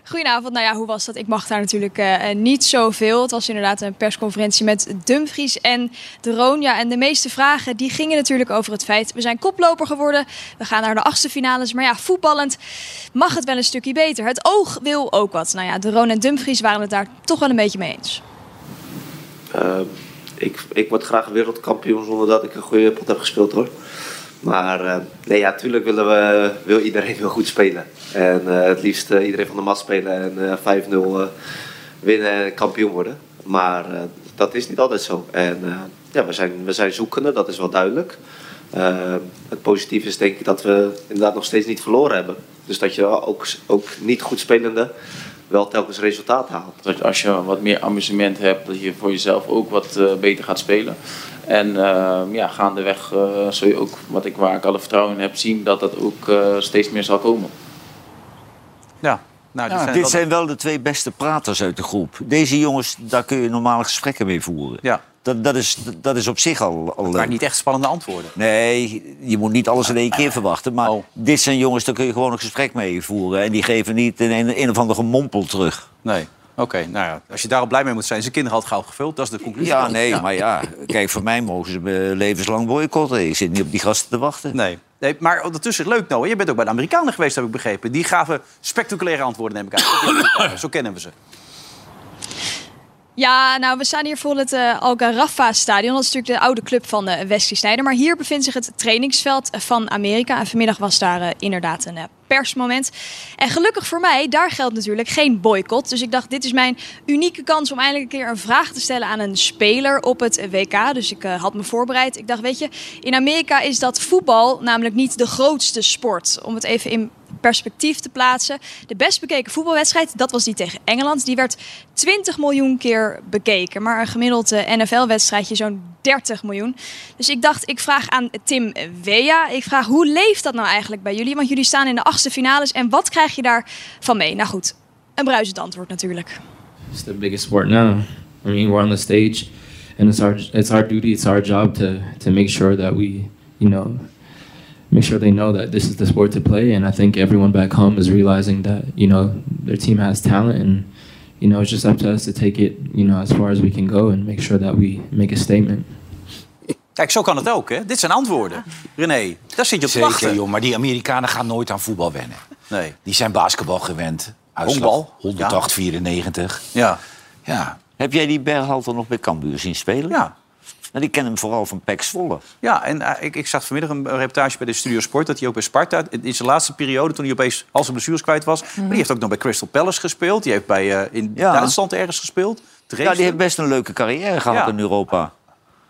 Goedenavond. Nou ja, hoe was dat? Ik mag daar natuurlijk eh, eh, niet zoveel. Het was inderdaad een persconferentie met Dumfries en de Roon. Ja, en de meeste vragen die gingen natuurlijk over het feit... we zijn koploper geworden, we gaan naar de achtste finales. Maar ja, voetballend mag het wel een stukje beter. Het oog wil ook wat. Nou ja, de Roon en Dumfries waren het daar toch wel een beetje mee eens. Eh, ik, ik word graag wereldkampioen zonder dat ik een goede pot heb gespeeld hoor. Maar eh, nee, ja, natuurlijk willen we, wil iedereen wel goed spelen. En eh, het liefst eh, iedereen van de mat spelen en eh 5-0 eh, winnen en kampioen worden. Maar eh, dat is niet altijd zo. En eh, ja, we zijn, we zijn zoekende, dat is wel duidelijk. Eh, het positieve is denk ik dat we inderdaad nog steeds niet verloren hebben. Dus dat je ook, ook niet goed spelende wel telkens resultaat haalt. Dat als je wat meer amusement hebt, dat je voor jezelf ook wat eh, beter gaat spelen. En eh, ja, gaandeweg eh, zul je ook, wat ik, waar ik alle vertrouwen in heb, zien dat dat ook eh, steeds meer zal komen. Ja, nou, dit zijn Dit wel- zijn wel de twee beste praters uit de groep. Deze jongens, daar kun je normale gesprekken mee voeren. Ja. Dat, dat, is, dat is op zich al, al maar leuk. niet echt spannende antwoorden. Nee, je moet niet alles in één keer verwachten. Maar Oh. dit zijn jongens, daar kun je gewoon een gesprek mee voeren. En die geven niet een, een, een of ander gemompel terug. Nee. Oké, nou ja, als je daarop blij mee moet zijn. Zijn kinderen had gauw gevuld, dat is de conclusie. Ja, nee, maar ja. Kijk, voor mij mogen ze me levenslang boycotten. Ik zit niet op die gasten te wachten. Nee. nee, maar ondertussen, leuk Noah, je bent ook bij de Amerikanen geweest, heb ik begrepen. Die gaven spectaculaire antwoorden, neem ik aan. Zo kennen we ze. Ja, nou, we staan hier voor het eh Algarafa-stadion. Dat is natuurlijk de oude club van eh Wesley Sneijder. Maar hier bevindt zich het trainingsveld van Amerika. En vanmiddag was daar eh, inderdaad een eh, persmoment. En gelukkig voor mij, daar geldt natuurlijk geen boycott. Dus ik dacht, dit is mijn unieke kans om eindelijk een keer een vraag te stellen aan een speler op het WK. Dus ik eh, had me voorbereid. Ik dacht, weet je, in Amerika is dat voetbal namelijk niet de grootste sport. Om het even in perspectief te plaatsen. De best bekeken voetbalwedstrijd, dat was die tegen Engeland. Die werd 20 miljoen keer bekeken. Maar een gemiddeld NFL-wedstrijdje zo'n 30 miljoen. Dus ik dacht, ik vraag aan Tim Wea. Ik vraag, hoe leeft dat nou eigenlijk bij jullie? Want jullie staan in de achtste finales. En wat krijg je daar van mee? Nou goed, een bruisend antwoord natuurlijk. It's the biggest sport now. I mean, we're on the stage, and it's our it's our duty, it's our job to to make sure that we, you know, make sure they know that this is the sport to play. And I think everyone back home is realizing that you know their team has talent, and you know it's just up to us to take it, you know, as far as we can go, and make sure that we make a statement. Kijk, zo kan het ook, hè? Dit zijn antwoorden. René, daar zit je op te Zeker, wachten. joh. Maar die Amerikanen gaan nooit aan voetbal wennen. Nee. Die zijn basketbal gewend. Uitslag Honkbal, 108, 94. Ja. Ja, Heb jij die Berhalter nog bij Cambuur zien spelen? ja. Want ik ken hem vooral van Pek Zwolle. Ja, en eh, ik, ik zag vanmiddag een reportage bij de Studio Sport... dat hij ook bij Sparta, in zijn laatste periode... toen hij opeens al zijn blessures kwijt was... maar die heeft ook nog bij Crystal Palace gespeeld. Die heeft bij, eh, in Ja. Duitsland ergens gespeeld. Ja, die heeft best een leuke carrière gehad Ja. in Europa.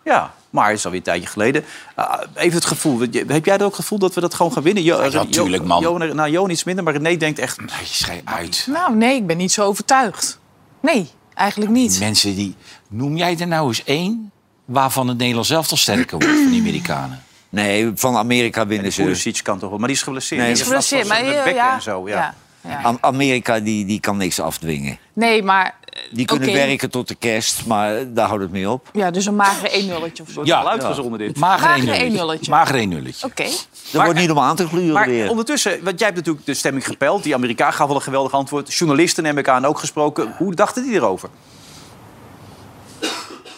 Ja, maar het is alweer een tijdje geleden. Ah, even het gevoel. Heb jij dat ook het gevoel dat we dat gewoon gaan winnen? Jo, Ja, Jo- tuurlijk, man. Jo, nou, Jo iets minder, maar René denkt echt... Je schijt uit. Nou, nee, ik ben niet zo overtuigd. Nee, eigenlijk niet. Mensen die... Noem jij er nou eens één waarvan het Nederlands elftal sterker wordt van die Amerikanen? Nee, van Amerika winnen ze. Pulisic kan toch wel, maar die is geblesseerd. Nee, Die die is geblesseerd, vast maar wel met heel- bekken ja. en zo, ja. Ja, ja. Am- Amerika die, die kan niks afdwingen. Nee, maar... eh, Die kunnen oké. werken tot de kerst, maar daar houdt het mee op. Ja, dus een magere 1-0'tje of zo. Wordt Ja. wel uitgezonden dit. Mager Mager 1 1-0'tje. nulletje. Mager 1 nulletje. Oké. Dat wordt niet om aan te gluren Maar weer. ondertussen, want jij hebt natuurlijk de stemming gepeld. Die Amerikaan gaf wel een geweldig antwoord. Journalisten hebben elkaar ook gesproken. Hoe dachten die erover?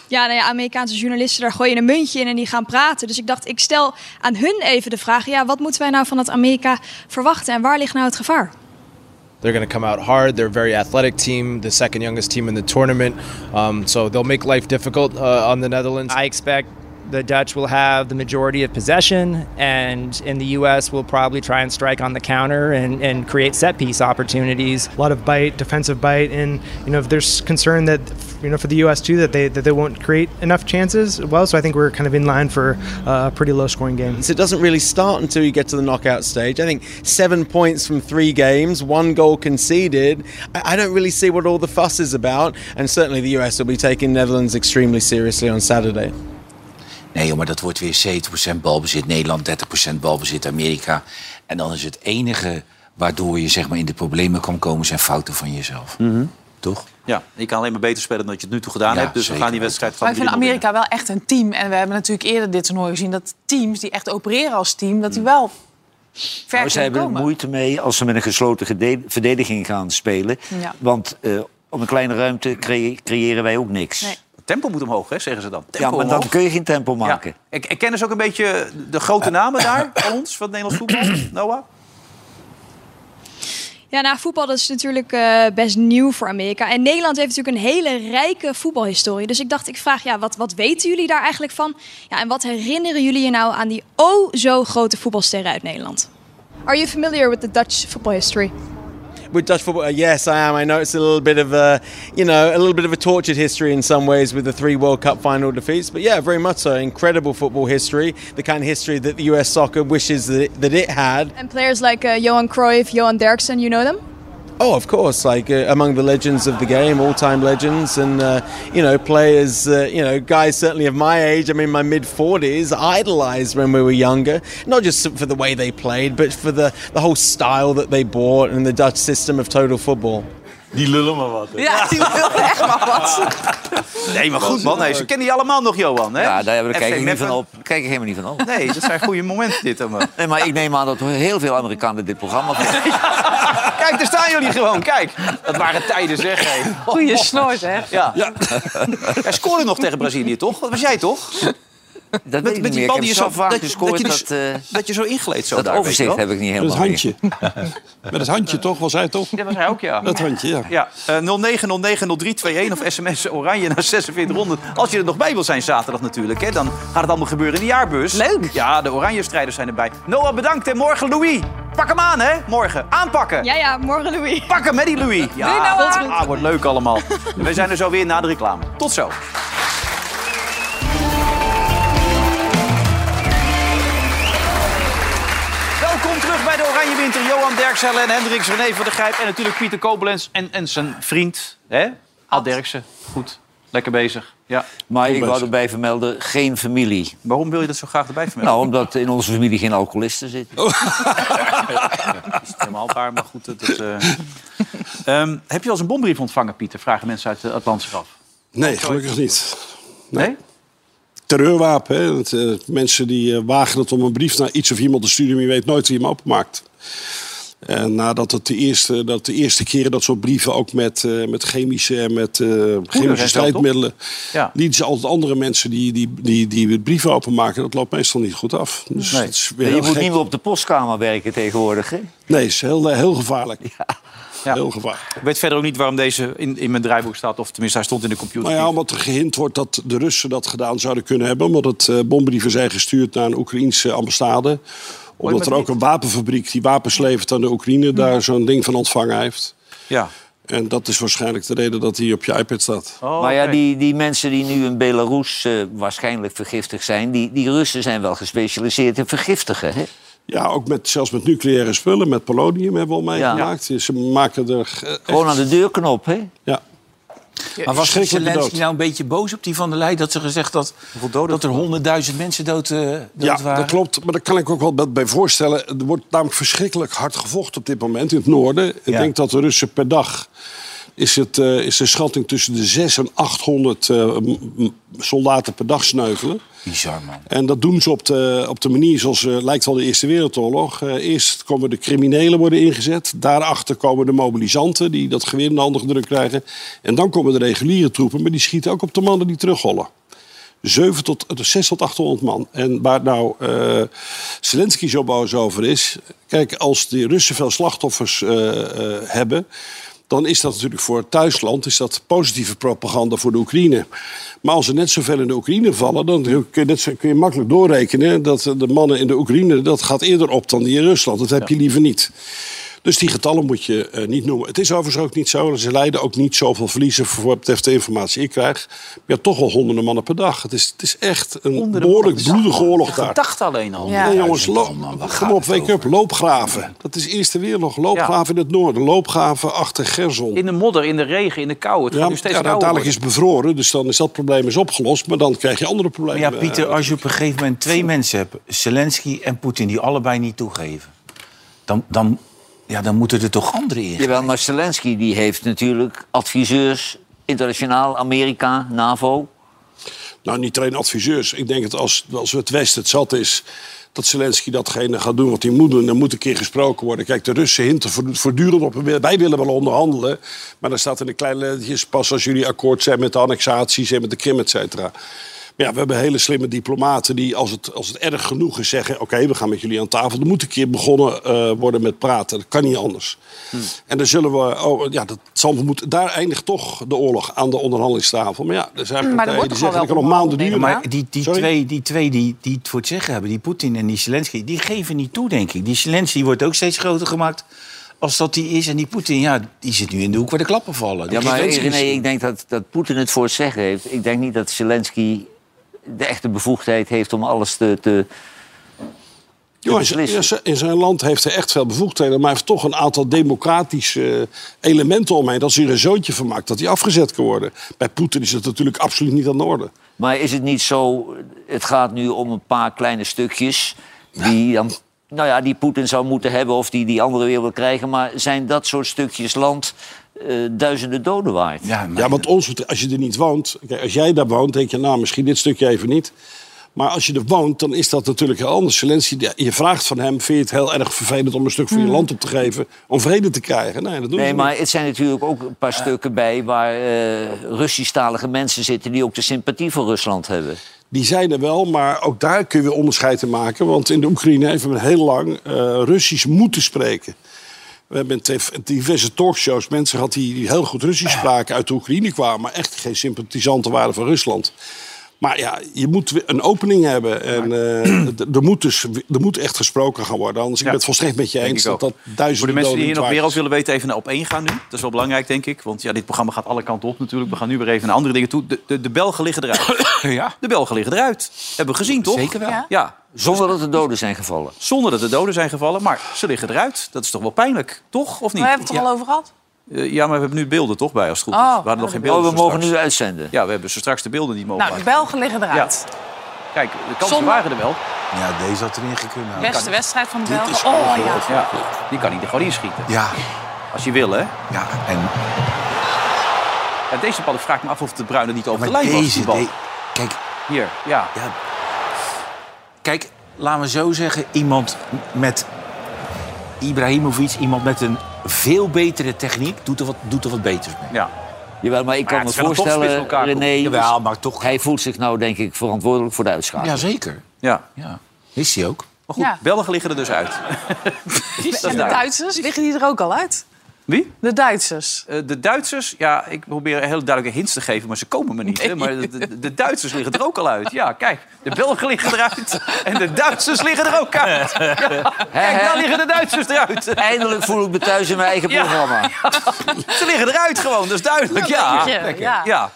Ja, nou ja, Amerikaanse journalisten, daar gooi je een muntje in en die gaan praten. Dus ik dacht, ik stel aan hun even de vraag: ja, wat moeten wij nou van dat Amerika verwachten en waar ligt nou het gevaar? They're going to come out hard. They're a very athletic team, the second youngest team in the tournament. Um, so they'll make life difficult uh, on the Netherlands. I expect the Dutch will have the majority of possession, and in the U.S., we'll probably try and strike on the counter and, and create set piece opportunities. A lot of bite, defensive bite, and you know if there's concern that you know for the U.S. too that they that they won't create enough chances. Well, so I think we're kind of in line for uh, a pretty low scoring game. So it doesn't really start until you get to the knockout stage. I think seven points from three games, one goal conceded. I I don't really see what all the fuss is about, and certainly the US will be taking Netherlands extremely seriously on Saturday. Nee, joh, maar dat wordt weer 70% balbezit Nederland, 30% balbezit Amerika. En dan is het enige waardoor je zeg maar, in de problemen kan komen... zijn fouten van jezelf. Mhm. Toch? Ja, je kan alleen maar beter spelen dan je het nu toe gedaan Ja, hebt. Dus we zeker. gaan die wedstrijd Maar van ik vind Amerika wel echt een team. En we hebben natuurlijk eerder dit toernooi gezien... dat teams die echt opereren als team, dat die wel ver Maar ze kunnen hebben er komen. moeite mee als ze met een gesloten gede- verdediging gaan spelen. Ja. Want eh, op een kleine ruimte creë- creëren wij ook niks. Nee. Tempo moet omhoog, hè, zeggen ze dan. Tempo Ja, maar omhoog. dan kun je geen tempo Ja. maken. Ik, ik ken dus ook een beetje de grote namen daar van ons, van het Nederlands voetbal. Noah? Ja, nou, voetbal dat is natuurlijk eh, best nieuw voor Amerika. En Nederland heeft natuurlijk een hele rijke voetbalhistorie. Dus ik dacht, ik vraag, ja, wat, wat weten jullie daar eigenlijk van? Ja, en wat herinneren jullie je nou aan die o zo grote voetbalsterren uit Nederland? Are you familiar with the Dutch football history? With Dutch football, uh, yes, I am. I know it's a little bit of a, you know, a little bit of a tortured history in some ways with the three World Cup final defeats, but yeah, very much so. Incredible football history, the kind of history that the US soccer wishes that it, that it had. And players like eh, Johan Cruyff, Johan Derksen, you know them? Oh, of course! Like uh, among the legends of the game, all-time legends, and uh, you know, players. Uh, you know, guys certainly of my age. I mean, my mid forties, idolized when we were younger. Not just for the way they played, but for the the whole style that they brought and the Dutch system of total football. Die lullen maar wat. Ja, die wil echt wel wat. Nee, maar goed, man. Nee, ze kennen die allemaal nog, Johan. Hè? Ja, daar hebben we FC kijk ik niet Meppen. van op. Kijk ik helemaal niet van op. Nee, dat zijn goede momenten, dit. allemaal. Nee, maar ik neem aan dat heel veel Amerikanen dit programma vinden. Kijk, daar staan jullie gewoon. Kijk, dat waren tijden, zeg. hé. Goeie snor, hè? Ja. Hij scoorde nog tegen Brazilië, toch? Dat was jij, toch? Dat weet Met, met ik niet die meer. bal ik die je zo heb zo vaak dat, gescoord dat, je, dat, dus- eh, dat je zo ingeleed zo dat daar, weet je overzicht wel. heb ik niet Met helemaal het meer. handje. Met het handje toch, was hij toch? Dat was hij ook, ja. Dat handje, ja. Ja, eh, 0909-0321 of sms oranje naar 4600. Als je er nog bij wil zijn zaterdag natuurlijk, hè, dan gaat het allemaal gebeuren in de jaarbus. Leuk. Ja, de oranje strijders zijn erbij. Noah, bedankt en morgen Louis. Pak hem aan, hè, morgen. Aanpakken. Ja, ja, morgen Louis. Pak hem, hè, die Louis. Doei, Ja, Noah. ah, wordt leuk allemaal. En We zijn er zo weer na de reclame. Tot zo. Welkom terug bij de Oranje Winter. Johan Derksen, Helen Hendricks, René van der Grijp... en natuurlijk Pieter Koblenz en, en zijn vriend, hè? Ad Derksen. Goed, lekker bezig. Ja. Maar ik wou erbij vermelden, geen familie. Waarom wil je dat zo graag erbij vermelden? Nou, omdat in onze familie geen alcoholisten zitten. Oh, is het helemaal waar, maar goed. Dat, is, eh. Ehm, heb je al eens een bombrief ontvangen, Pieter? Vragen mensen uit eh, het landschap. Nee, gelukkig niet. Nee? Terreurwapen, hè. Dat, eh, mensen die eh, wagen het om een brief naar iets of iemand te sturen... maar je weet nooit wie hem openmaakt. En nadat het de eerste, dat de eerste keren dat soort brieven ook met, eh, met chemische en met eh, en chemische zo, strijdmiddelen. Ja. lieten ze altijd andere mensen die, die, die, die het brieven openmaken. Dat loopt meestal niet goed af. Dus Nee. het is weer Je heel moet gek. niet meer op de postkamer werken tegenwoordig. Hè? Nee, het is heel, heel eh, gevaarlijk. Heel gevaarlijk. Ik weet verder ook niet waarom deze in, in mijn draaiboek staat. Of tenminste, hij stond in de computer. Nou ja, omdat er gehind wordt dat de Russen dat gedaan zouden kunnen hebben. Omdat het eh, bombrieven zijn gestuurd naar een Oekraïense ambassade. Omdat er ook een wapenfabriek die wapens levert aan de Oekraïne... daar zo'n ding van ontvangen heeft. Ja. En dat is waarschijnlijk de reden dat hij op je iPad staat. Oh, maar ja, die, die mensen die nu in Belarus eh, waarschijnlijk vergiftigd zijn... Die, die Russen zijn wel gespecialiseerd in vergiftigen, hè? Ja, ook met, zelfs met nucleaire spullen, met polonium hebben we al meegemaakt. Ze maken er... eh, Gewoon echt- aan de deurknop, hè? Ja. Maar was Verschrikkelijk Zelensky bedoeld. nou een beetje boos op die Van der Leyen... dat ze gezegd had dat er honderdduizend mensen dood, eh, dood Ja, waren? dat klopt. Maar daar kan ik ook wel wat bij voorstellen. Er wordt namelijk verschrikkelijk hard gevochten op dit moment in het noorden. Ik Ja. denk dat de Russen per dag... Is, het, eh, is de schatting tussen de 600 en 800 eh, m- m- soldaten per dag sneuvelen. Bizar, man. En dat doen ze op de, op de manier zoals eh, lijkt wel de Eerste Wereldoorlog. Eh, eerst komen de criminelen worden ingezet. Daarachter komen de mobilisanten die dat geweer in de handen gedrukt krijgen. En dan komen de reguliere troepen, maar die schieten ook op de mannen die terugrollen. 7 tot, eh, 6 tot 800 man. En waar nou eh, Zelensky zo boos over is... Kijk, als de Russen veel slachtoffers eh, eh, hebben... dan is dat natuurlijk voor het thuisland is dat positieve propaganda voor de Oekraïne. Maar als er net zoveel in de Oekraïne vallen... dan kun je, net zo- kun je makkelijk doorrekenen dat eh, de mannen in de Oekraïne... dat gaat eerder op dan die in Rusland. Dat heb je liever niet. Dus die getallen moet je eh, niet noemen. Het is overigens ook niet zo. Ze lijden ook niet zoveel verliezen voor wat betreft de informatie ik krijg. Ja, toch wel honderden mannen per dag. Het is, het is echt een behoorlijk bloedige oorlog daar. Dacht alleen al. Nee, jongens, loop, kom op, wake up. Loopgraven. Dat is Eerste Wereldoorlog. Loopgraven in het noorden. Loopgraven achter Gerson. In de modder, in de regen, in de kou. Het gaat nu steeds ja, nou, kouder dadelijk is worden. het bevroren, dus dan is dat probleem is opgelost. Maar dan krijg je andere problemen. Maar ja, Pieter, als je op een gegeven moment twee mensen hebt... Zelensky en Poetin, die allebei niet toegeven... dan, dan, ja, dan moeten er toch anderen in. Jawel, maar Zelensky die heeft natuurlijk adviseurs... internationaal, Amerika, NAVO. Nou, niet alleen adviseurs. Ik denk dat als, als het Westen het zat is... dat Zelensky datgene gaat doen wat hij moet doen. Dan moet een keer gesproken worden. Kijk, de Russen hinten voortdu- voortdurend op... wij willen wel onderhandelen. Maar dan staat in de kleine lettertjes... pas als jullie akkoord zijn met de annexaties en met de Krim, et cetera. Maar ja, we hebben hele slimme diplomaten die als het, als het erg genoeg is zeggen... oké, we gaan met jullie aan tafel. Er moet een keer begonnen eh, worden met praten. Dat kan niet anders. Mm. En dan zullen we... Oh, ja, dat zal moeten... Daar eindigt toch de oorlog aan de onderhandelingstafel. Maar ja, er zijn Mm, Maar partijen er wordt die toch al zeggen... dat wel kan nog maanden Ja, duren. maar die, die, Sorry? twee, die twee die, die het voor het zeggen hebben, die Poetin en die Zelensky, die geven niet toe, denk ik. Die Zelensky wordt ook steeds groter gemaakt als dat die is. En die Poetin, ja, die zit nu in de hoek waar de klappen vallen. Ja, Die maar Zelensky is- René, ik denk dat, dat Poetin het voor het zeggen heeft. Ik denk niet dat Zelensky de echte bevoegdheid heeft om alles te... te Jongens, eh, in zijn- in zijn land heeft hij echt veel bevoegdheden... maar hij heeft toch een aantal democratische eh, elementen omheen... dat hij er een zoontje van maakt, dat hij afgezet kan worden. Bij Poetin is dat natuurlijk absoluut niet aan de orde. Maar is het niet zo, het gaat nu om een paar kleine stukjes die dan, nou ja, die Poetin zou moeten hebben of die die andere weer wil krijgen. Maar zijn dat soort stukjes land eh, duizenden doden waard? Ja, Ja, want ons, betreft, als je er niet woont... Kijk, als jij daar woont, denk je, nou, misschien dit stukje even niet. Maar als je er woont, dan is dat natuurlijk heel anders. Zelensky, ja, je vraagt van hem, vind je het heel erg vervelend... om een stuk van je land op te geven, om vrede te krijgen? Nee, dat doen Hmm. Nee, ze maar niet. het zijn natuurlijk ook een paar stukken bij waar eh Russisch-talige mensen zitten die ook de sympathie voor Rusland hebben. Die zijn er wel, maar ook daar kun je weer onderscheid in maken. Want in de Oekraïne heeft men heel lang eh, Russisch moeten spreken. We hebben in tv- diverse talkshows mensen gehad die, die heel goed Russisch spraken uit de Oekraïne kwamen, maar echt geen sympathisanten waren van Rusland. Maar ja, je moet weer een opening hebben. En eh, d- er, moet dus, er moet echt gesproken gaan worden. Anders ik ben het volstrekt met je Denk eens ik dat ook. dat duizenden Voor de mensen die doden hier nog waard meer is. over willen weten, even naar op één gaan nu. Dat is wel belangrijk, denk ik. Want ja, dit programma gaat alle kanten op natuurlijk. We gaan nu weer even naar andere dingen toe. De, de, de Belgen liggen eruit. ja. De Belgen liggen eruit. Hebben we gezien, toch? Zeker wel. Ja. Ja. Zonder dat er doden zijn gevallen. Zonder dat er doden zijn gevallen, maar ze liggen eruit. Dat is toch wel pijnlijk, toch? Of niet? Maar we hebben het er al over gehad. Eh, ja, maar we hebben nu beelden toch bij, als het goed is. Oh, we hadden nog geen beelden. Oh, we zo mogen straks. nu uitzenden. Ja, we hebben zo straks de beelden niet mogen Nou, de Belgen liggen eruit. maken. Kijk, de kansen Zonder- waren er wel. ja, deze had erin gekund. De Nou, Beste kan- wedstrijd van de Dit Belgen. is Oh ja. ongelooflijk. ja. Die kan hij er gewoon inschieten. Ja, Als je wil, hè? ja, en Ja, deze bal, ik vraag me af of de Bruine niet over maar de lijn was. deze... Die bal. de- kijk, Hier, ja. ja. kijk, laten we zo zeggen, iemand met Ibrahimovic, iemand met een veel betere techniek, doet er wat, doet er wat beters mee. ja. Jawel, maar ik Maar kan het is me wel een topspits voorstellen, voor elkaar, René, Jawel, maar toch. hij voelt zich nou denk ik verantwoordelijk voor de uitschakeling. Jazeker. ja. Ja. Is hij ook. Maar goed, Ja. Belgen liggen er dus uit. En de Duitsers liggen die er ook al uit. Wie? De Duitsers. Eh, de Duitsers, ja, ik probeer heel duidelijke hints te geven, maar ze komen me niet. Hè? Maar de, de, de Duitsers liggen er ook al uit. Ja, kijk, de Belgen liggen eruit en de Duitsers liggen er ook uit. Ja, kijk, daar liggen de Duitsers eruit. Eindelijk voel ik me thuis in mijn eigen Ja. programma. Ze liggen eruit gewoon, dat is duidelijk. Ja, lekker, Lekker. ja. ja.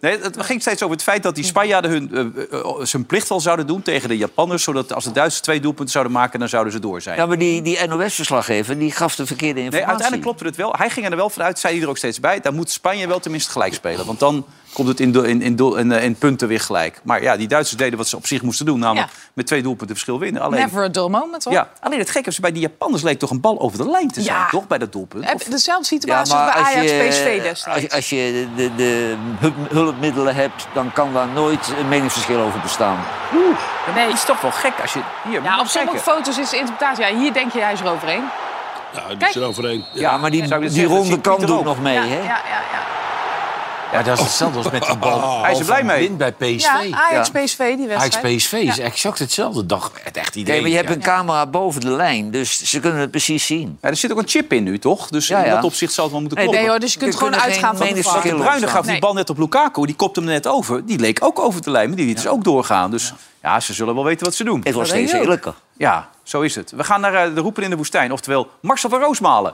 Nee, het ging steeds over het feit dat die Spanjaarden hun, eh, eh, eh, zijn plicht al zouden doen tegen de Japanners. Zodat als de Duitsers twee doelpunten zouden maken, dan zouden ze door zijn. Ja, maar die, die NOS-verslaggever die gaf de verkeerde informatie. Nee, uiteindelijk klopte het wel. Hij ging er wel vanuit, zei hij er ook steeds bij. Dan moet Spanje wel tenminste gelijk spelen. Want dan komt het in, do- in, in, doel- in, eh, in punten weer gelijk. Maar ja, die Duitsers deden wat ze op zich moesten doen. Namelijk Ja. met twee doelpunten verschil winnen. Alleen, Never a dull moment, hoor. ja, alleen het gekke is, bij die Japanners leek toch een bal over de lijn te zijn. Ja. Toch, bij dat doelpunt? Heb- Of- Dezelfde situatie als bij als Ajax je- PSV destijds. Als, als je de, de hulp- hulpmiddelen hebt, dan kan daar nooit een meningsverschil over bestaan. nee. Het is toch wel gek als je... Hier, Ja, op moet je sommige kijken. foto's is de interpretatie. Ja, hier denk je, hij is er overheen. Ja, Kijk. eroverheen. Ja, maar die, zou ik die dus zeggen, dat ronde ziet kan Pieter doet ook. nog mee, ja, hè? ja, ja, ja. Maar dat is hetzelfde als met die bal. Hij is er bal blij Oh, van mee. Blind bij PSV. Ja, Ajax PSV, die wedstrijd. Ajax PSV is Ja. exact hetzelfde. Dag, het echt Kijk, idee. maar je hebt een camera boven de lijn, dus ze kunnen het precies zien. Ja, er zit ook een chip in nu, toch? Dus Ja, in ja. dat opzicht zal het wel moeten Nee, kloppen. nee, hoor, dus je kunt Er gewoon kunnen geen uitgaan van de meningsverschillen fout. De Bruyne gaf die Nee. bal net op Lukaku. Die kopte hem net over. Die leek ook over de lijn, maar die liet dus ook doorgaan. Dus ja, ze zullen wel weten wat ze doen. Het denk was steeds ik ook. eerlijker. Ja, zo is het. We gaan naar eh, de roepen in de woestijn. Oftewel Marcel van Roosmalen.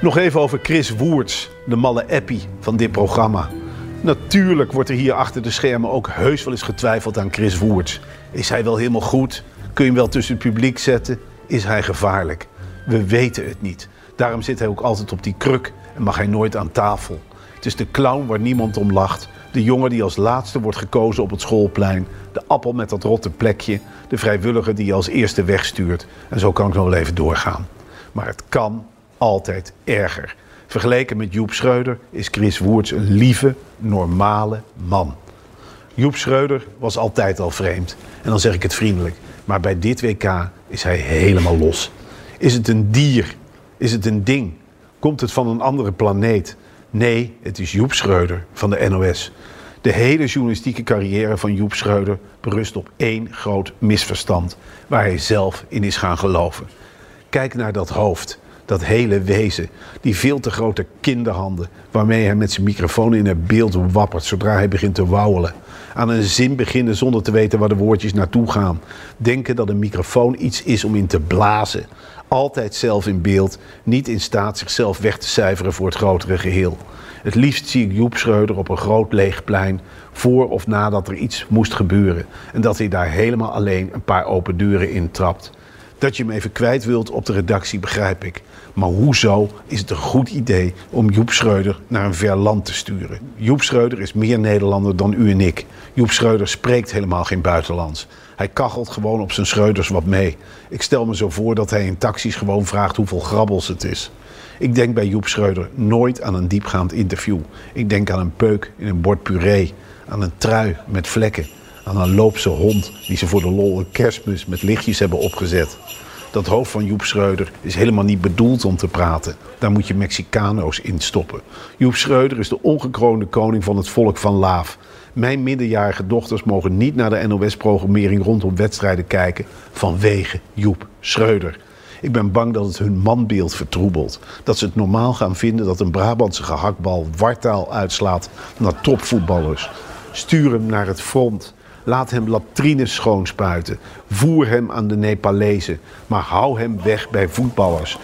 Nog even over Chris Woerts, de malle appie van dit programma. Natuurlijk wordt er hier achter de schermen ook heus wel eens getwijfeld aan Chris Woerts. Is hij wel helemaal goed? Kun je hem wel tussen het publiek zetten? Is hij gevaarlijk? We weten het niet. Daarom zit hij ook altijd op die kruk en mag hij nooit aan tafel. Het is de clown waar niemand om lacht. De jongen die als laatste wordt gekozen op het schoolplein. De appel met dat rotte plekje. De vrijwilliger die je als eerste wegstuurt. En zo kan ik nog wel even doorgaan. Maar het kan altijd erger. Vergeleken met Joep Schreuder is Chris Woerts een lieve, normale man. Joep Schreuder was altijd al vreemd. En dan zeg ik het vriendelijk. Maar bij dit WK is hij helemaal los. Is het een dier? Is het een ding? Komt het van een andere planeet? Nee, het is Joep Schreuder van de NOS. De hele journalistieke carrière van Joep Schreuder berust op één groot misverstand. Waar hij zelf in is gaan geloven. Kijk naar dat hoofd, dat hele wezen, die veel te grote kinderhanden waarmee hij met zijn microfoon in het beeld wappert zodra hij begint te wauwelen. Aan een zin beginnen zonder te weten waar de woordjes naartoe gaan. Denken dat een microfoon iets is om in te blazen. Altijd zelf in beeld, niet in staat zichzelf weg te cijferen voor het grotere geheel. Het liefst zie ik Joep Schreuder op een groot leeg plein, voor of nadat er iets moest gebeuren. En dat hij daar helemaal alleen een paar open deuren intrapt. Dat je hem even kwijt wilt op de redactie, begrijp ik. Maar hoezo is het een goed idee om Joep Schreuder naar een ver land te sturen? Joep Schreuder is meer Nederlander dan u en ik. Joep Schreuder spreekt helemaal geen buitenlands. Hij kachelt gewoon op zijn Schreuders wat mee. Ik stel me zo voor dat hij in taxis gewoon vraagt hoeveel grabbels het is. Ik denk bij Joep Schreuder nooit aan een diepgaand interview. Ik denk aan een peuk in een bord puree. Aan een trui met vlekken. Aan een loopse hond die ze voor de lol een kerstmis met lichtjes hebben opgezet. Dat hoofd van Joep Schreuder is helemaal niet bedoeld om te praten. Daar moet je Mexicano's in stoppen. Joep Schreuder is de ongekroonde koning van het volk van Laaf. Mijn minderjarige dochters mogen niet naar de NOS-programmering rondom wedstrijden kijken vanwege Joep Schreuder. Ik ben bang dat het hun manbeeld vertroebelt. Dat ze het normaal gaan vinden dat een Brabantse gehaktbal wartaal uitslaat naar topvoetballers. Stuur hem naar het front. Laat hem latrines schoonspuiten. Voer hem aan de Nepalezen. Maar hou hem weg bij voetballers.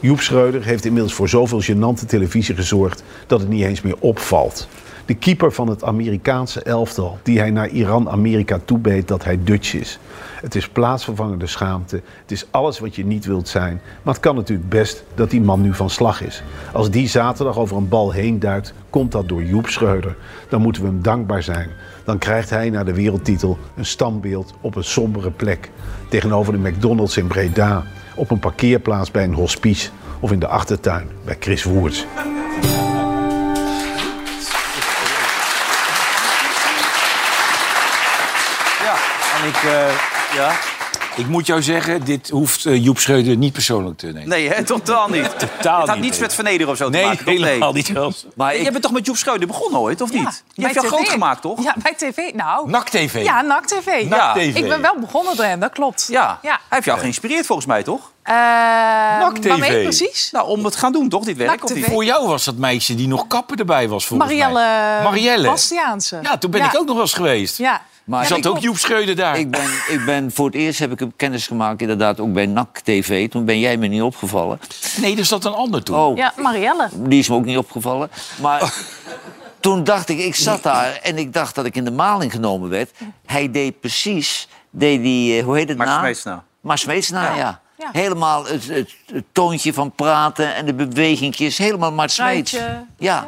Joep Schreuder heeft inmiddels voor zoveel gênante televisie gezorgd dat het niet eens meer opvalt. De keeper van het Amerikaanse elftal, die hij naar Iran-Amerika toebeet dat hij Dutch is. Het is plaatsvervangende schaamte. Het is alles wat je niet wilt zijn. Maar het kan natuurlijk best dat die man nu van slag is. Als die zaterdag over een bal heen duikt, komt dat door Joep Schreuder. Dan moeten we hem dankbaar zijn. Dan krijgt hij na de wereldtitel een standbeeld op een sombere plek. Tegenover de McDonald's in Breda. Op een parkeerplaats bij een hospice. Of in de achtertuin bij Chris Woerts. Ja, en ik... eh, ja. Ik moet jou zeggen, dit hoeft eh, Joep Schreuder niet persoonlijk te nemen. Nee, hè, totaal niet. Totaal Het had niet, niets nee. met vernederen of zo Nee, te maken. toch? helemaal niet zelfs. Maar Jij bent toch met Joep Schreuder begonnen ooit, of niet? Je bij hebt jou TV. groot gemaakt, toch? Ja, bij tv. Nou. NAC TV. Ja, NAC TV. NAC Ja. TV. Ik ben wel begonnen door hem, dat klopt. Ja. ja. Hij heeft jou geïnspireerd volgens mij, toch? Eh, NAC Waarmee TV. precies? Nou, om het gaan doen, toch, dit werk? NAC TV. Voor jou was dat meisje die nog kapper erbij was, volgens Marielle, mij. Marielle. Bastiaanse. Ja, toen ben ik ook nog wel eens geweest. Ja. Maar Er zat ook Joep Schreuder daar. Ik ben, ik ben, voor het eerst heb ik kennis gemaakt inderdaad ook bij NAC TV. Toen ben jij me niet opgevallen. Nee, er zat een ander toen. Oh, Ja, Marielle. die is me ook niet opgevallen. Maar toen dacht ik, ik zat daar en ik dacht dat ik in de maling genomen werd. Hij deed precies, deed die, eh, hoe heet het Max na? Smeetsna. Maar Smeetsna, ja. Ja. Helemaal het, het, het toontje van praten en de bewegingjes. Helemaal Mart Smeets. Truitje. Ja.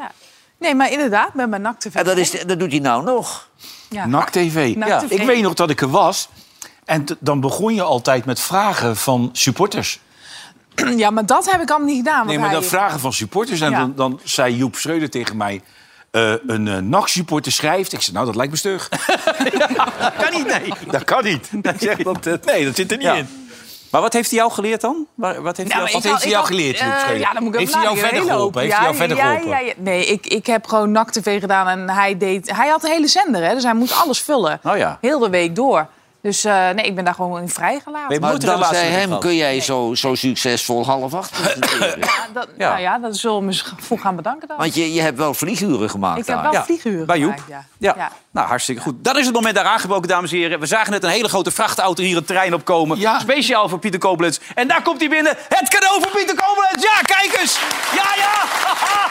Nee, maar inderdaad, met mijn NAC TV. En dat, is, dat doet hij nou nog. Ja. NAC TV. NAC ja. TV. Ik weet nog dat ik er was. En t- dan begon je altijd met vragen van supporters. Ja, maar dat heb ik allemaal niet gedaan. want Nee, maar hij- dan vragen van supporters. En Ja. dan, dan zei Joep Schreuder tegen mij... eh, een eh, NAC-supporter schrijft. Ik zei, nou, dat lijkt me stug. Kan niet, nee. dat kan niet. Ik zeg, dat, eh, nee, dat zit er niet Ja. in. Maar wat heeft hij jou geleerd dan? Waar- Wat heeft Nou, hij jou... maar ik heeft had- hij ik jou had- geleerd, Joep eh, Schreuder? ja, dan moet ik Heeft even hij jou verder nadenken, een hele geholpen? hoop. Heeft hij jou Ja, verder ja, geholpen? ja, ja. Nee, ik, ik heb gewoon NAC TV gedaan en hij deed... Hij had een hele zender, hè, dus hij moest alles vullen. Oh ja. Heel de week door. Dus eh, nee, ik ben daar gewoon in vrijgelaten. Nee, Maar Nooit een relatie dankzij met hem hem gehad. kun jij zo, zo succesvol half acht presenteren. Ja, dat, Ja. Nou ja, dat zullen we misschien voor gaan bedanken dan. Want je, je hebt wel vlieguren gemaakt ik daar. heb wel Ja, vlieguren bij Joep. gemaakt, ja. Ja. Ja. nou hartstikke goed. Dan is het moment daar aangebroken, dames en heren. We zagen net een hele grote vrachtauto hier een trein opkomen. Ja. Speciaal voor Pieter Koblenz. En daar komt hij binnen. Het cadeau voor Pieter Koblenz. Ja, kijk eens. Ja, ja. Haha.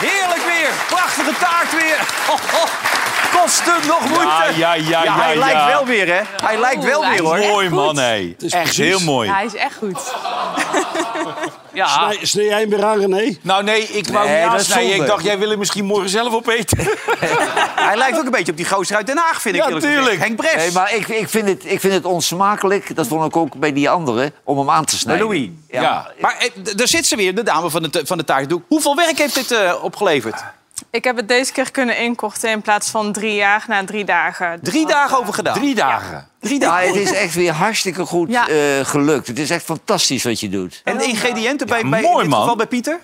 Heerlijk weer. Prachtige taart weer. Ho, ho. Kost hem nog moeite. ja, ja, ja, hij ja. lijkt wel weer, hè. Hij lijkt wel hij weer, is hoor. echt Mooi goed. man, hé. is Echt precies. heel mooi. Ja, hij is echt goed. Ja. Snij, snij jij hem weer aan, René? Nou nee, ik wou Nee, niet dat is aansnijden. Ik zonde. dacht, jij wil hem misschien morgen zelf opeten. Hij lijkt ook een beetje op die gozer uit Den Haag, vind ik. Ja, eerlijk gezegd. tuurlijk. Henk Bres. Nee, maar ik, ik, vind het, ik vind het onsmakelijk, dat vond ik ook bij die anderen, om hem aan te Bij snijden. Louis. Ja. Ja. Maar eh, d- daar zit ze weer, de dame van de, t- van de taartdoek. Hoeveel werk heeft dit eh, opgeleverd? Ik heb het deze keer kunnen inkorten in plaats van drie jaar na drie dagen. Dus, Drie dagen over gedaan. Drie dagen. Drie Maar dagen. het is echt weer hartstikke goed Ja. eh, gelukt. Het is echt fantastisch wat je doet. En de ingrediënten bij, bij, mooi, in dit man. geval bij Pieter?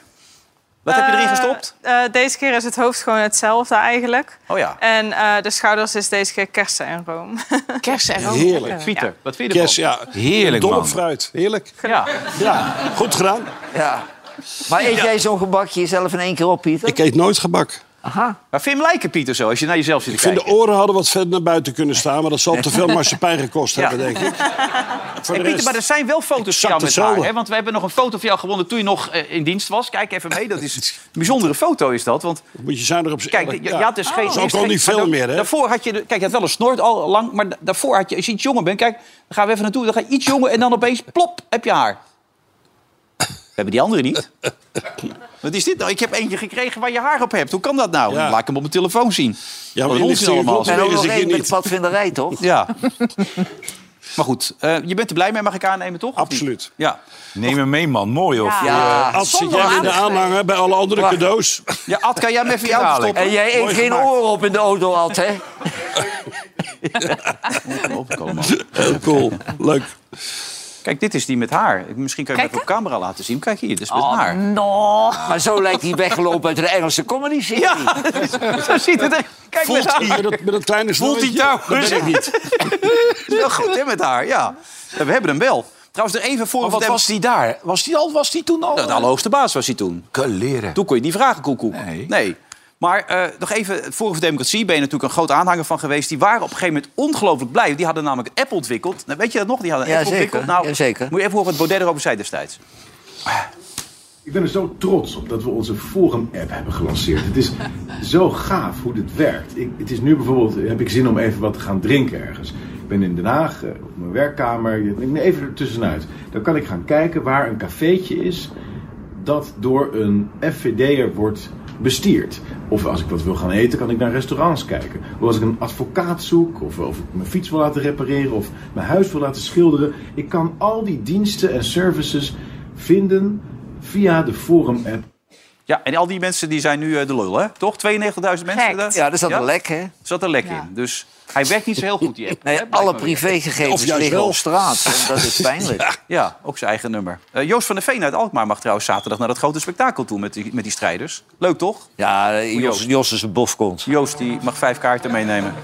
Wat heb je erin gestopt? Eh, eh, deze keer is het hoofd gewoon hetzelfde eigenlijk. Oh ja. En eh, de schouders is deze keer kersen en room. Kersen en room. Heerlijk. Pieter, wat vind je ervan? Yes, ja. Heerlijk, Dol op man. fruit. Heerlijk. Ja. Ja, goed gedaan. Ja. Maar eet jij zo'n gebakje zelf in één keer op, Pieter? Ik eet nooit gebak. Aha. Maar vind je hem lijken, Pieter, zo, als je naar jezelf zit te Ik vind de kijken? oren hadden wat verder naar buiten kunnen staan, maar dat zal te veel marsepein gekost hebben, denk ik. Voor Hey, Eh, de Pieter, rest, maar er zijn wel foto's van zat jou met haar. hetzelfde. Hè? Want we hebben nog een foto van jou gewonnen toen je nog eh, in dienst was. Kijk even mee, dat is een bijzondere foto is dat. Want moet je zuinig op kijk, je, je had dus geen... Zo eerst kon geen- niet veel maar da- meer, hè? Daarvoor had je, de- kijk, je had wel een snort al lang, maar da- daarvoor had je... Als je iets jonger bent, kijk, dan gaan we even naartoe. Dan ga je iets jonger en dan opeens, plop, heb je haar. We hebben die andere niet. Wat is dit nou? Ik heb eentje gekregen waar je haar op hebt. Hoe kan dat nou? Ja. Laat ik hem op mijn telefoon zien. Ja, maar Wat jullie onzin sturen allemaal. klopt En ook weer nog eens een één keer met de niet. padvinderij, toch? Ja. maar goed, eh, je bent er blij mee, mag ik aannemen, toch? Of niet? Absoluut. Ja. Neem hem mee, man. Mooi, hoor. Ja. Ad, zit Zonder jij in de aandacht. aanhanger bij alle andere Wacht. cadeaus? ja, Ad, kan jij hem even in je auto Kwalijk. stoppen? En jij eet Mooi geen gemaakt. oren op in de auto, Ad, hè? Heel cool. Leuk. Kijk, dit is die met haar. Misschien kan je hem even op camera laten zien. Kijk hier, dit is met haar. No. Maar zo lijkt hij weggelopen uit de Engelse comedy serie. Ja, zo ziet het er. Kijk, met Voelt haar. hij met dat, met dat kleine Voelt hij snurretje? jou? Dat ben ik niet. Is wel goed, hè, met haar. Ja. We hebben hem wel. Trouwens, er even voor... Maar wat was die daar? Was die, al, was die toen al? Nou, De allerhoogste baas was hij toen. Kaleren. Toen kon je die vragen, Koekoek. Nee. Maar eh, nog even, Forum voor Democratie ben je natuurlijk een groot aanhanger van geweest. Die waren op een gegeven moment ongelooflijk blij. want Die hadden namelijk een app ontwikkeld. Nou, weet je dat nog? Die hadden een Ja, app zeker. ontwikkeld. Nou, Ja, zeker. Moet je even horen wat Baudet erover zei destijds. Ik ben er zo trots op dat we onze Forum-app hebben gelanceerd. Het is zo gaaf hoe dit werkt. Ik, het is nu bijvoorbeeld, heb ik zin om even wat te gaan drinken ergens. Ik ben in Den Haag, eh, op mijn werkkamer, ik ben even er tussenuit. Dan kan ik gaan kijken waar een cafeetje is dat door een FVD'er wordt bestierd. Of als ik wat wil gaan eten, kan ik naar restaurants kijken. Of als ik een advocaat zoek, of, of ik mijn fiets wil laten repareren, of mijn huis wil laten schilderen. Ik kan al die diensten en services vinden via de Forum-app. Ja, en al die mensen die zijn nu eh, de lul, hè? Toch? 92.000 mensen? daar? Ja, er zat een lek, hè? Er zat een lek in. Dus hij werkt niet zo heel goed, die app. Nee, alle privégegevens liggen op straat. En dat is pijnlijk. Ja, ja, ook zijn eigen nummer. Eh, Joost van der Veen uit Alkmaar mag trouwens zaterdag naar dat grote spektakel toe met die, met die strijders. Leuk toch? Ja, eh, Jos, Jos is een bofkont. Joost die mag vijf kaarten meenemen.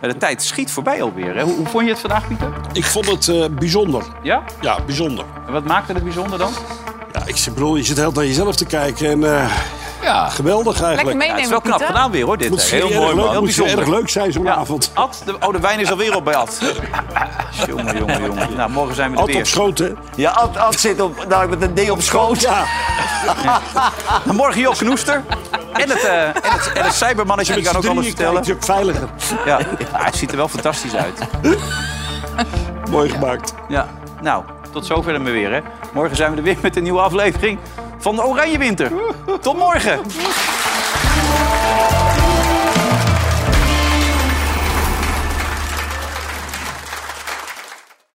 Eh, De tijd schiet voorbij alweer. Hè? Hoe, hoe vond je het vandaag, Pieter? Ik vond het eh, bijzonder. Ja? Ja, bijzonder. En wat maakte het bijzonder dan? Ja, ik zeg, bedoel, je zit heel naar jezelf te kijken en eh, Ja. geweldig eigenlijk. Ja, het is wel knap gedaan weer, hoor. Dit. Moet hè. heel mooi, man. Moet heel erg leuk zijn zo'n avond. Ad, de, oh, de wijn is alweer op bij Ad. jongen, jongen, jongen. Nou, morgen zijn we er Ad weer. op schoot, hè? Ja, Ad, Ad zit op, nou, met een D op schoot. Ja. En morgen Job Knoester. En het, eh en het, en het cybermannetje, die Met kan ook z'n alles drieën vertellen. kijkt je veiliger. Ja, Ah, het ziet er wel fantastisch uit. Mooi gemaakt. Ja, nou, tot zover dan maar weer, hè. Morgen zijn we er weer met een nieuwe aflevering van de Oranje Winter. Tot morgen!